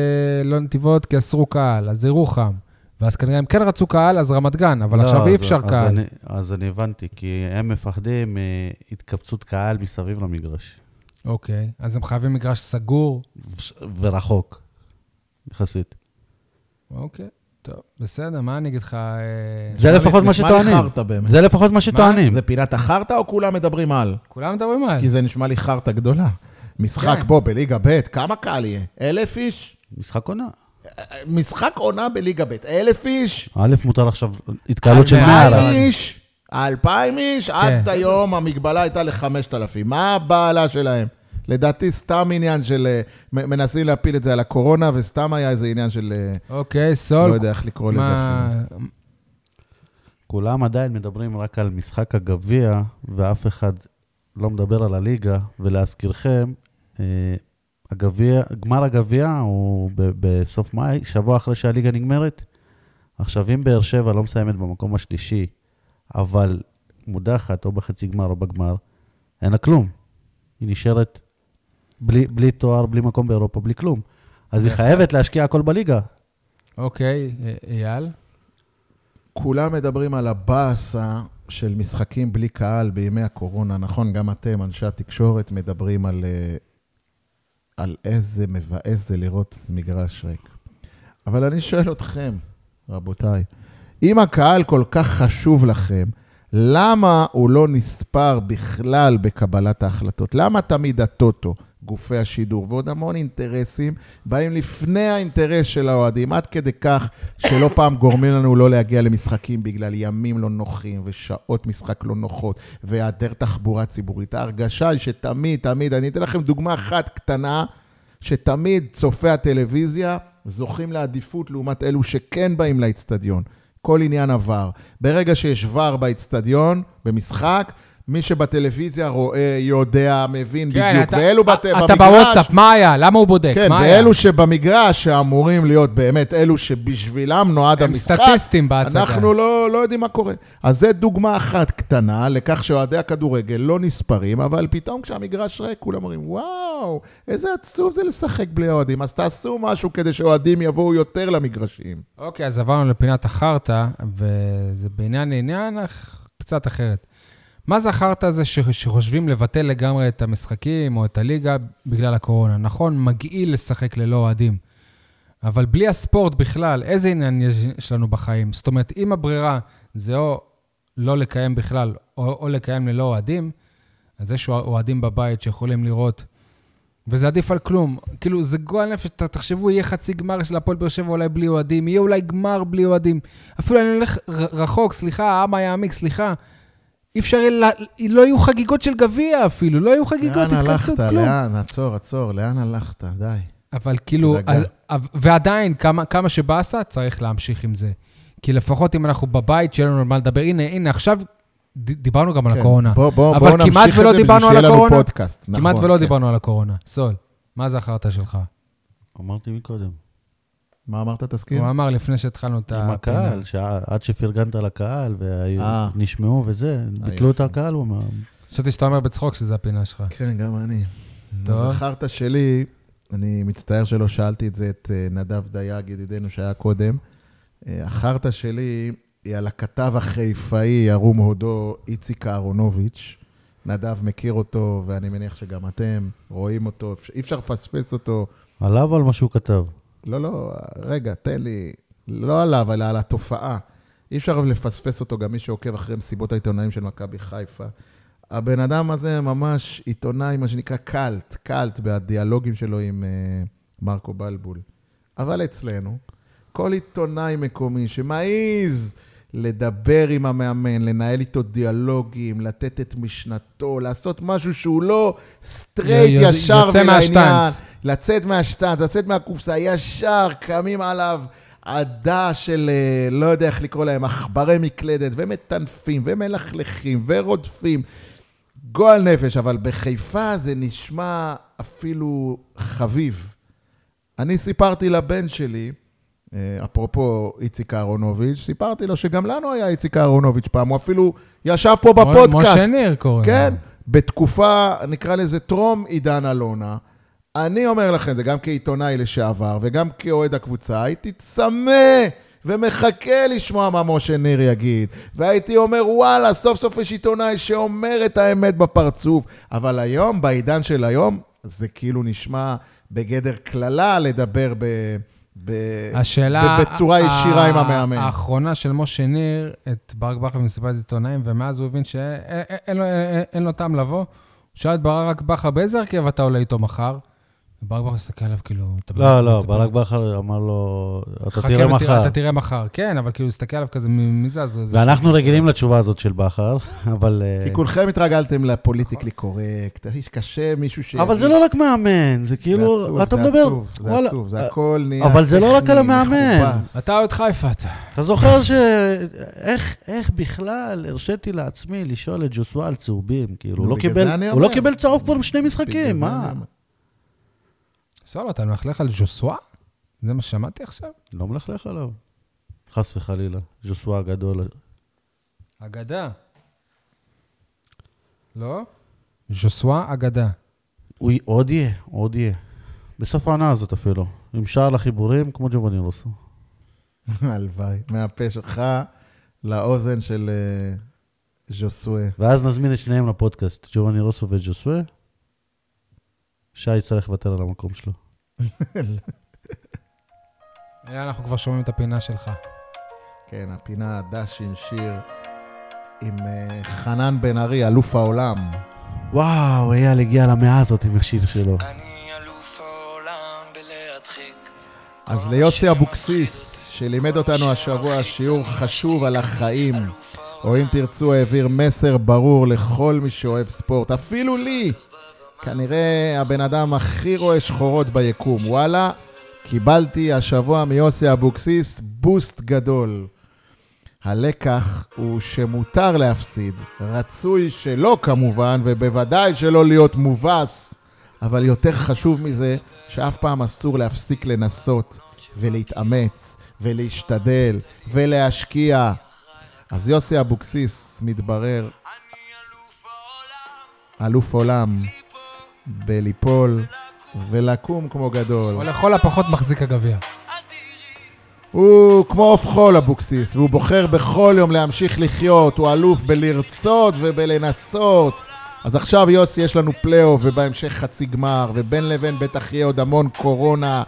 לא נתיבות כי אסרו קהל, אז ירוחם. ואז כנראה הם כן רצו קהל, אז רמת גן, אבל לא, עכשיו אי אז- אפשר אז קהל. אני- אז אני הבנתי, כי הם מפחדים מהתקבצות קהל מסביב למגרש, אוקיי, אז הם חייבים מגרש סגור. ו- ורחוק, יחסית. אוקיי, טוב, בסדר, מה אני אגיד לך? אה, לא- זה לפחות מה נשמע שטוענים. לי חרטא באמת. זה לפחות מה שטוענים. זה פינת החרטא או כולם מדברים על? כולם מדברים על. כי זה נשמע לי חרטא גדולה. משחק כן. בו בליגה ב', כמה קהל יהיה? אלף איש? משחק עונה. משחק עונה בליגה ב', אלף איש? א', מותר עכשיו התקהלות של אה, 100 אה, רק. אה, אלפיים איש? אלפיים איש? עד היום המגבלה הייתה לחמשת אלפים. מה הבעלה שלהם? לדעתי סתם עניין של... אה, מ- מנסים להפיל את זה על הקורונה, וסתם היה איזה עניין של... אה, אוקיי, סול. לא יודע איך לקרוא לזה אפילו. מה... כולם עדיין מדברים רק על משחק הגביע, ואף אחד לא מדבר על הליגה. ולהזכירכם, אה, הגביע, גמר הגביע הוא ב- בסוף מאי, שבוע אחרי שהליגה נגמרת. עכשיו, אם באר שבע לא מסיימת במקום השלישי, אבל מודחת או בחצי גמר או בגמר, אין לה כלום. היא נשארת בלי, בלי תואר, בלי מקום באירופה, בלי כלום. אז היא בהחלט. חייבת להשקיע הכל בליגה. אוקיי, אה, אייל. כולם מדברים על הבאסה של משחקים בלי קהל בימי הקורונה. נכון, גם אתם, אנשי התקשורת, מדברים על, אה, על איזה מבאס זה לראות מגרש ריק. אבל אני שואל אתכם, רבותיי, אם הקהל כל כך חשוב לכם, למה הוא לא נספר בכלל בקבלת ההחלטות? למה תמיד הטוטו, גופי השידור ועוד המון אינטרסים באים לפני האינטרס של האוהדים, עד כדי כך שלא פעם גורמים לנו לא להגיע למשחקים בגלל ימים לא נוחים ושעות משחק לא נוחות והיעדר תחבורה ציבורית. ההרגשה היא שתמיד, תמיד, אני אתן לכם דוגמה אחת קטנה, שתמיד צופי הטלוויזיה זוכים לעדיפות לעומת אלו שכן באים לאצטדיון. כל עניין עבר. ברגע שיש ור באצטדיון, במשחק, מי שבטלוויזיה רואה, יודע, מבין כן, בדיוק. אתה- ואלו בת... אתה בוואטסאפ, מה היה? למה הוא בודק? כן, מה היה? ואלו שבמגרש שאמורים להיות באמת אלו שבשבילם נועד הם המשחק, סטטיסטים בהצגה. אנחנו לא, לא יודעים מה קורה. אז זו דוגמה אחת קטנה לכך שאוהדי הכדורגל לא נספרים, אבל פתאום כשהמגרש ריק, כולם אומרים, וואו, איזה עצוב זה לשחק בלי אוהדים. אז תעשו משהו כדי שאוהדים יבואו יותר למגרשים. אוקיי, אז עברנו לפינת החרטא, וזה בעניין לעניין אך קצת אחרת. מה זה החרטא הזה ש- שחושבים לבטל לגמרי את המשחקים או את הליגה בגלל הקורונה? נכון, מגעיל לשחק ללא אוהדים, אבל בלי הספורט בכלל, איזה עניין יש- יש לנו בחיים? זאת אומרת, אם הברירה זה או לא לקיים בכלל, או, או לקיים ללא אוהדים, אז יש אוהדים בבית שיכולים לראות וזה עדיף על כלום. כאילו, זה גועל נפש, ת- תחשבו, יהיה חצי גמר של הפועל באר שבע אולי בלי אוהדים, יהיה אולי גמר בלי אוהדים. אפילו אני הולך ר- רחוק, סליחה, העם היעמיק, סליחה. אי אפשר, יהיה לה- לא יהיו חגיגות של גביע אפילו, לא יהיו חגיגות לאן התכנסות, הלכת? כלום. לאן? עצור, עצור, לאן הלכת? די. אבל כאילו, תירגע. אז- אב- ועדיין, כמה, כמה שבאסה, צריך להמשיך עם זה. כי לפחות אם אנחנו בבית, שיהיה לנו על מה לדבר. הנה, הנה, עכשיו ד- דיברנו גם על כן, הקורונה. בוא- בוא- אבל בואו כמעט נמשיך ולא את זה בשביל דיברנו על שיהיה לנו הקורונה. פודקאסט. כמעט נכון, ולא כן. דיברנו על הקורונה. סול, מה זה החרטא שלך? אמרתי מקודם. מה אמרת, תזכיר? הוא אמר לפני שהתחלנו את עם הפינה. הקהל, שע- עד שפרגנת לקהל, אה. ונשמעו וזה, ביטלו את יופי. הקהל, הוא אמר. חשבתי שאתה אומר בצחוק שזו הפינה שלך. כן, גם אני. טוב. זכרת שלי, אני מצטער שלא שאלתי את זה את אה, נדב דייג, ידידנו שהיה קודם. אה, החרטא שלי היא על הכתב החיפאי, ערום הודו, איציק אהרונוביץ'. נדב מכיר אותו, ואני מניח שגם אתם רואים אותו, אפשר- אי אפשר לפספס אותו. עליו על מה שהוא כתב. לא, לא, רגע, תן לי. לא עליו, אלא על התופעה. אי אפשר לפספס אותו, גם מי שעוקב אחרי מסיבות העיתונאים של מכבי חיפה. הבן אדם הזה ממש עיתונאי, מה שנקרא קאלט, קאלט בדיאלוגים שלו עם אה, מרקו בלבול. אבל אצלנו, כל עיתונאי מקומי שמעז לדבר עם המאמן, לנהל איתו דיאלוגים, לתת את משנתו, לעשות משהו שהוא לא סטרייט, י- י- ישר יוצא ולעניין. מהשטנץ. לצאת מהשטנץ, לצאת מהקופסה, ישר קמים עליו עדה של, אה, לא יודע איך לקרוא להם, עכברי מקלדת, ומטנפים, ומלכלכים, ורודפים. גועל נפש, אבל בחיפה זה נשמע אפילו חביב. אני סיפרתי לבן שלי, אה, אפרופו איציק אהרונוביץ', סיפרתי לו שגם לנו היה איציק אהרונוביץ' פעם, הוא אפילו ישב פה בפודקאסט. משה ניר קוראים. לו. כן, בתקופה, נקרא לזה טרום עידן אלונה, אני אומר לכם, זה גם כעיתונאי לשעבר וגם כאוהד הקבוצה, הייתי צמא ומחכה לשמוע מה משה ניר יגיד. והייתי אומר, וואלה, סוף סוף יש עיתונאי שאומר את האמת בפרצוף. אבל היום, בעידן של היום, זה כאילו נשמע בגדר קללה לדבר ב... ב... השאלה... בצורה ה- ישירה עם ה- המאמן. האחרונה של משה ניר, את ברק בכר במסיבת עיתונאים, ומאז הוא הבין שאין לו- אין- אין לו טעם לבוא. הוא שאל את ברק בכר, באיזה הרכב אתה עולה איתו מחר? וברק בכר הסתכל עליו כאילו... אתה לא, לא, מצפה- ברק בכר אמר לו, אתה "חכה תראה ותראה- מחר. אתה תראה מחר, כן, אבל כאילו, הוא הסתכל עליו כזה, "מ- מי זה? אז הוא איזה... ואנחנו רגילים לתשובה הזאת של בכר, אבל... אה, כי כולכם התרגלתם לפוליטיקלי קורקט, קשה מישהו ש... אבל זה לא רק מאמן, זה זה כאילו, עצוב, אתה זה מדבר... עצוב, זה וואלה, אה, עצוב, זה הכל נהיה אבל זה לא רק טכני, על המאמן. מכובס. אתה עוד חיפה, אתה. אתה זוכר ש... איך, איך בכלל הרשיתי לעצמי לשאול את ג'וסואה על צהובים? כאילו, נו, הוא לא בגלל קיבל- זה אני הוא לא אומר. קיבל צהוב כבר שני בגלל זה משחקים, מה? אני אומר. סבבה, אתה מלכלך על ז'וסואה? זה מה ששמעתי עכשיו? לא מלכלך עליו. חס וחלילה, ז'וסואה הגדול. אגדה. לא? ז'וסואה אגדה. הוא י- עוד יהיה, עוד יהיה. בסוף העונה הזאת אפילו. עם שער לחיבורים כמו ג'ובאני רוסו. הלוואי, מהפה שלך לאוזן של אה, ז'וסואה. ואז נזמין את שניהם לפודקאסט, ג'ובאני רוסו וג'וסואה. שי יצטרך לוותר על המקום שלו. אייל, אנחנו כבר שומעים את הפינה שלך. כן, הפינה דש עם שיר עם אה, חנן בן ארי, אלוף העולם. וואו, אייל הגיע למאה הזאת עם השיר שלו. אני אלוף העולם בלהדחיק. אז ליוסי אבוקסיס, שלימד אותנו השבוע שיעור חשוב על החיים, או אם תרצו, העביר מסר ברור לכל מי שאוהב ספורט, אפילו לי. כנראה הבן אדם הכי רואה שחורות ביקום. וואלה, קיבלתי השבוע מיוסי אבוקסיס בוסט גדול. הלקח הוא שמותר להפסיד, רצוי שלא כמובן, ובוודאי שלא להיות מובס, אבל יותר חשוב מזה, שאף פעם אסור להפסיק לנסות, ולהתאמץ, ולהשתדל, ולהשקיע. אז יוסי אבוקסיס מתברר אלוף עולם בליפול ולקום כמו גדול. או לכל הפחות מחזיק הגביע. הוא כמו עוף חול אבוקסיס, והוא בוחר בכל יום להמשיך לחיות, הוא אלוף בלרצות ובלנסות. אז עכשיו יוסי יש לנו פלייאוף ובהמשך חצי גמר, ובין לבין בטח יהיה עוד המון קורונה,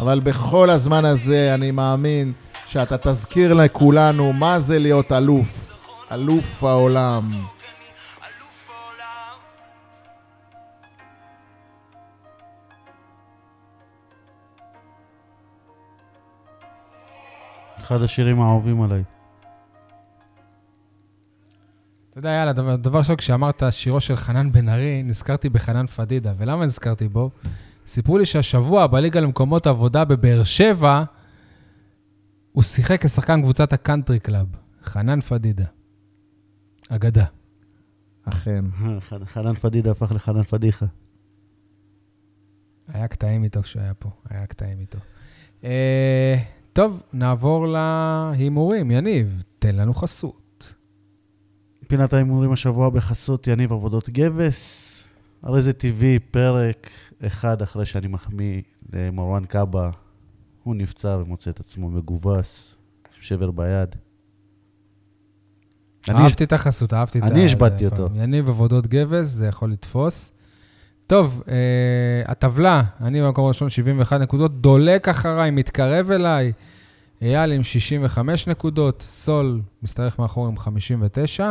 אבל בכל הזמן הזה אני מאמין שאתה תזכיר לכולנו מה זה להיות אלוף, אלוף העולם. אחד השירים האהובים עליי. אתה יודע, יאללה, דבר, דבר ראשון, כשאמרת שירו של חנן בן ארי, נזכרתי בחנן פדידה. ולמה נזכרתי בו? סיפרו לי שהשבוע בליגה למקומות עבודה בבאר שבע, הוא שיחק כשחקן קבוצת הקאנטרי קלאב. חנן פדידה. אגדה. אכן. חנ- חנן פדידה הפך לחנן פדיחה. היה קטעים איתו כשהוא היה פה, היה קטעים איתו. אה, טוב, נעבור להימורים. יניב, תן לנו חסות. פינת ההימורים השבוע בחסות יניב עבודות גבס. הרי זה טבעי, פרק אחד אחרי שאני מחמיא למרואן קאבה. הוא נפצע ומוצא את עצמו מגובס, עם שבר ביד. אני- אהבתי את החסות, אהבתי את אני ה- השבתתי זה אותו. פעם. יניב עבודות גבס, זה יכול לתפוס. טוב, אה, הטבלה, אני במקום הראשון 71 נקודות, דולק אחריי, מתקרב אליי. אייל עם 65 נקודות, סול מסתרך מאחור עם 59.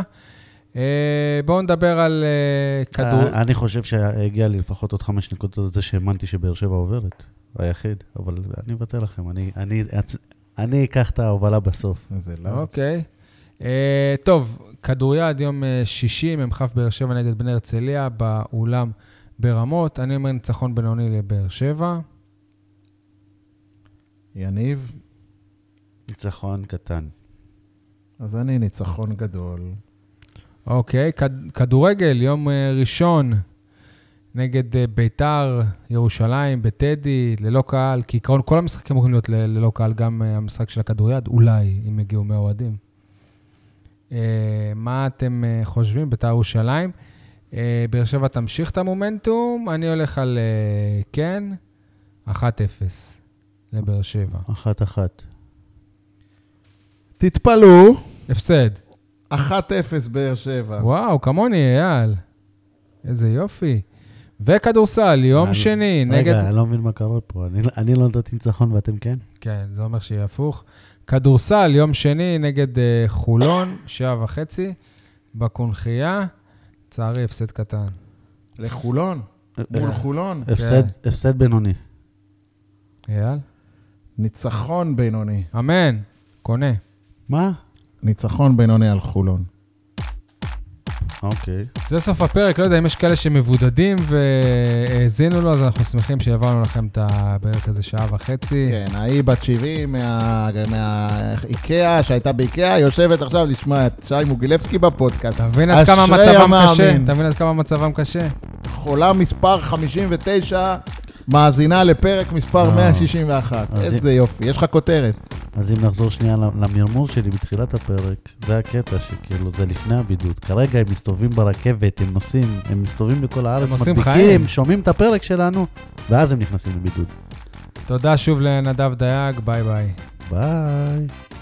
אה, בואו נדבר על אה, כדור... אני חושב שהגיע לי לפחות עוד חמש נקודות על זה שהאמנתי שבאר שבע עוברת, היחיד, אבל אני אוותר לכם, אני- אני- אני אקח את ההובלה בסוף. זה לא... אוקיי. אה, טוב, כדוריד יום אה, שישי, מ"כ באר שבע נגד בני הרצליה, באולם ברמות. אני אומר ניצחון בינוני לבאר שבע. יניב, ניצחון קטן. אז אני ניצחון גדול. אוקיי, כד- כדורגל, יום אה, ראשון נגד אה, ביתר, ירושלים, בטדי, ללא קהל, כי עקרון כל המשחקים יכולים להיות ל- ללא קהל, גם אה, המשחק של הכדוריד, אולי, אם יגיעו מהאוהדים. אה, מה אתם אה, חושבים, ביתר ירושלים? אה, באר שבע תמשיך את המומנטום, אני הולך על אה, כן, 1-0 לבאר שבע. אחת-אחת. תתפלאו, הפסד. 1-0 באר שבע. וואו, כמוני, אייל. איזה יופי. וכדורסל, יום אני- שני, נגד... רגע, אני לא מבין מה קורה פה, אני- אני לא נתתי ניצחון ואתם כן? כן, זה אומר שיהיה הפוך. כדורסל, יום שני, נגד אה, חולון, שעה וחצי, בקונכייה. לצערי, הפסד קטן. לחולון, מול חולון. הפסד- הפסד בינוני. אייל? ניצחון בינוני. אמן, קונה. מה? ניצחון בינוני על חולון. אוקיי. זה סוף הפרק, לא יודע אם יש כאלה שמבודדים והאזינו לו, אז אנחנו שמחים שהעברנו לכם את ה- בערך איזה שעה וחצי. כן, ההיא בת 70 מה- מהאיקאה, שהייתה באיקאה, יושבת עכשיו לשמוע את שי מוגילבסקי בפודקאסט. אתה מבין עד אשרי כמה מצבם קשה? המאמין. אתה מבין עד כמה מצבם קשה? חולה מספר 59, מאזינה לפרק מספר אה. 161. אז איזה יופי, יש לך כותרת. אז אם נחזור שנייה למרמור שלי בתחילת הפרק, זה הקטע שכאילו זה לפני הבידוד. כרגע הם מסתובבים ברכבת, הם נוסעים, הם מסתובבים בכל הארץ, עושים מדביקים, חיים. שומעים את הפרק שלנו, ואז הם נכנסים לבידוד. תודה שוב לנדב דייג, ביי ביי. ביי.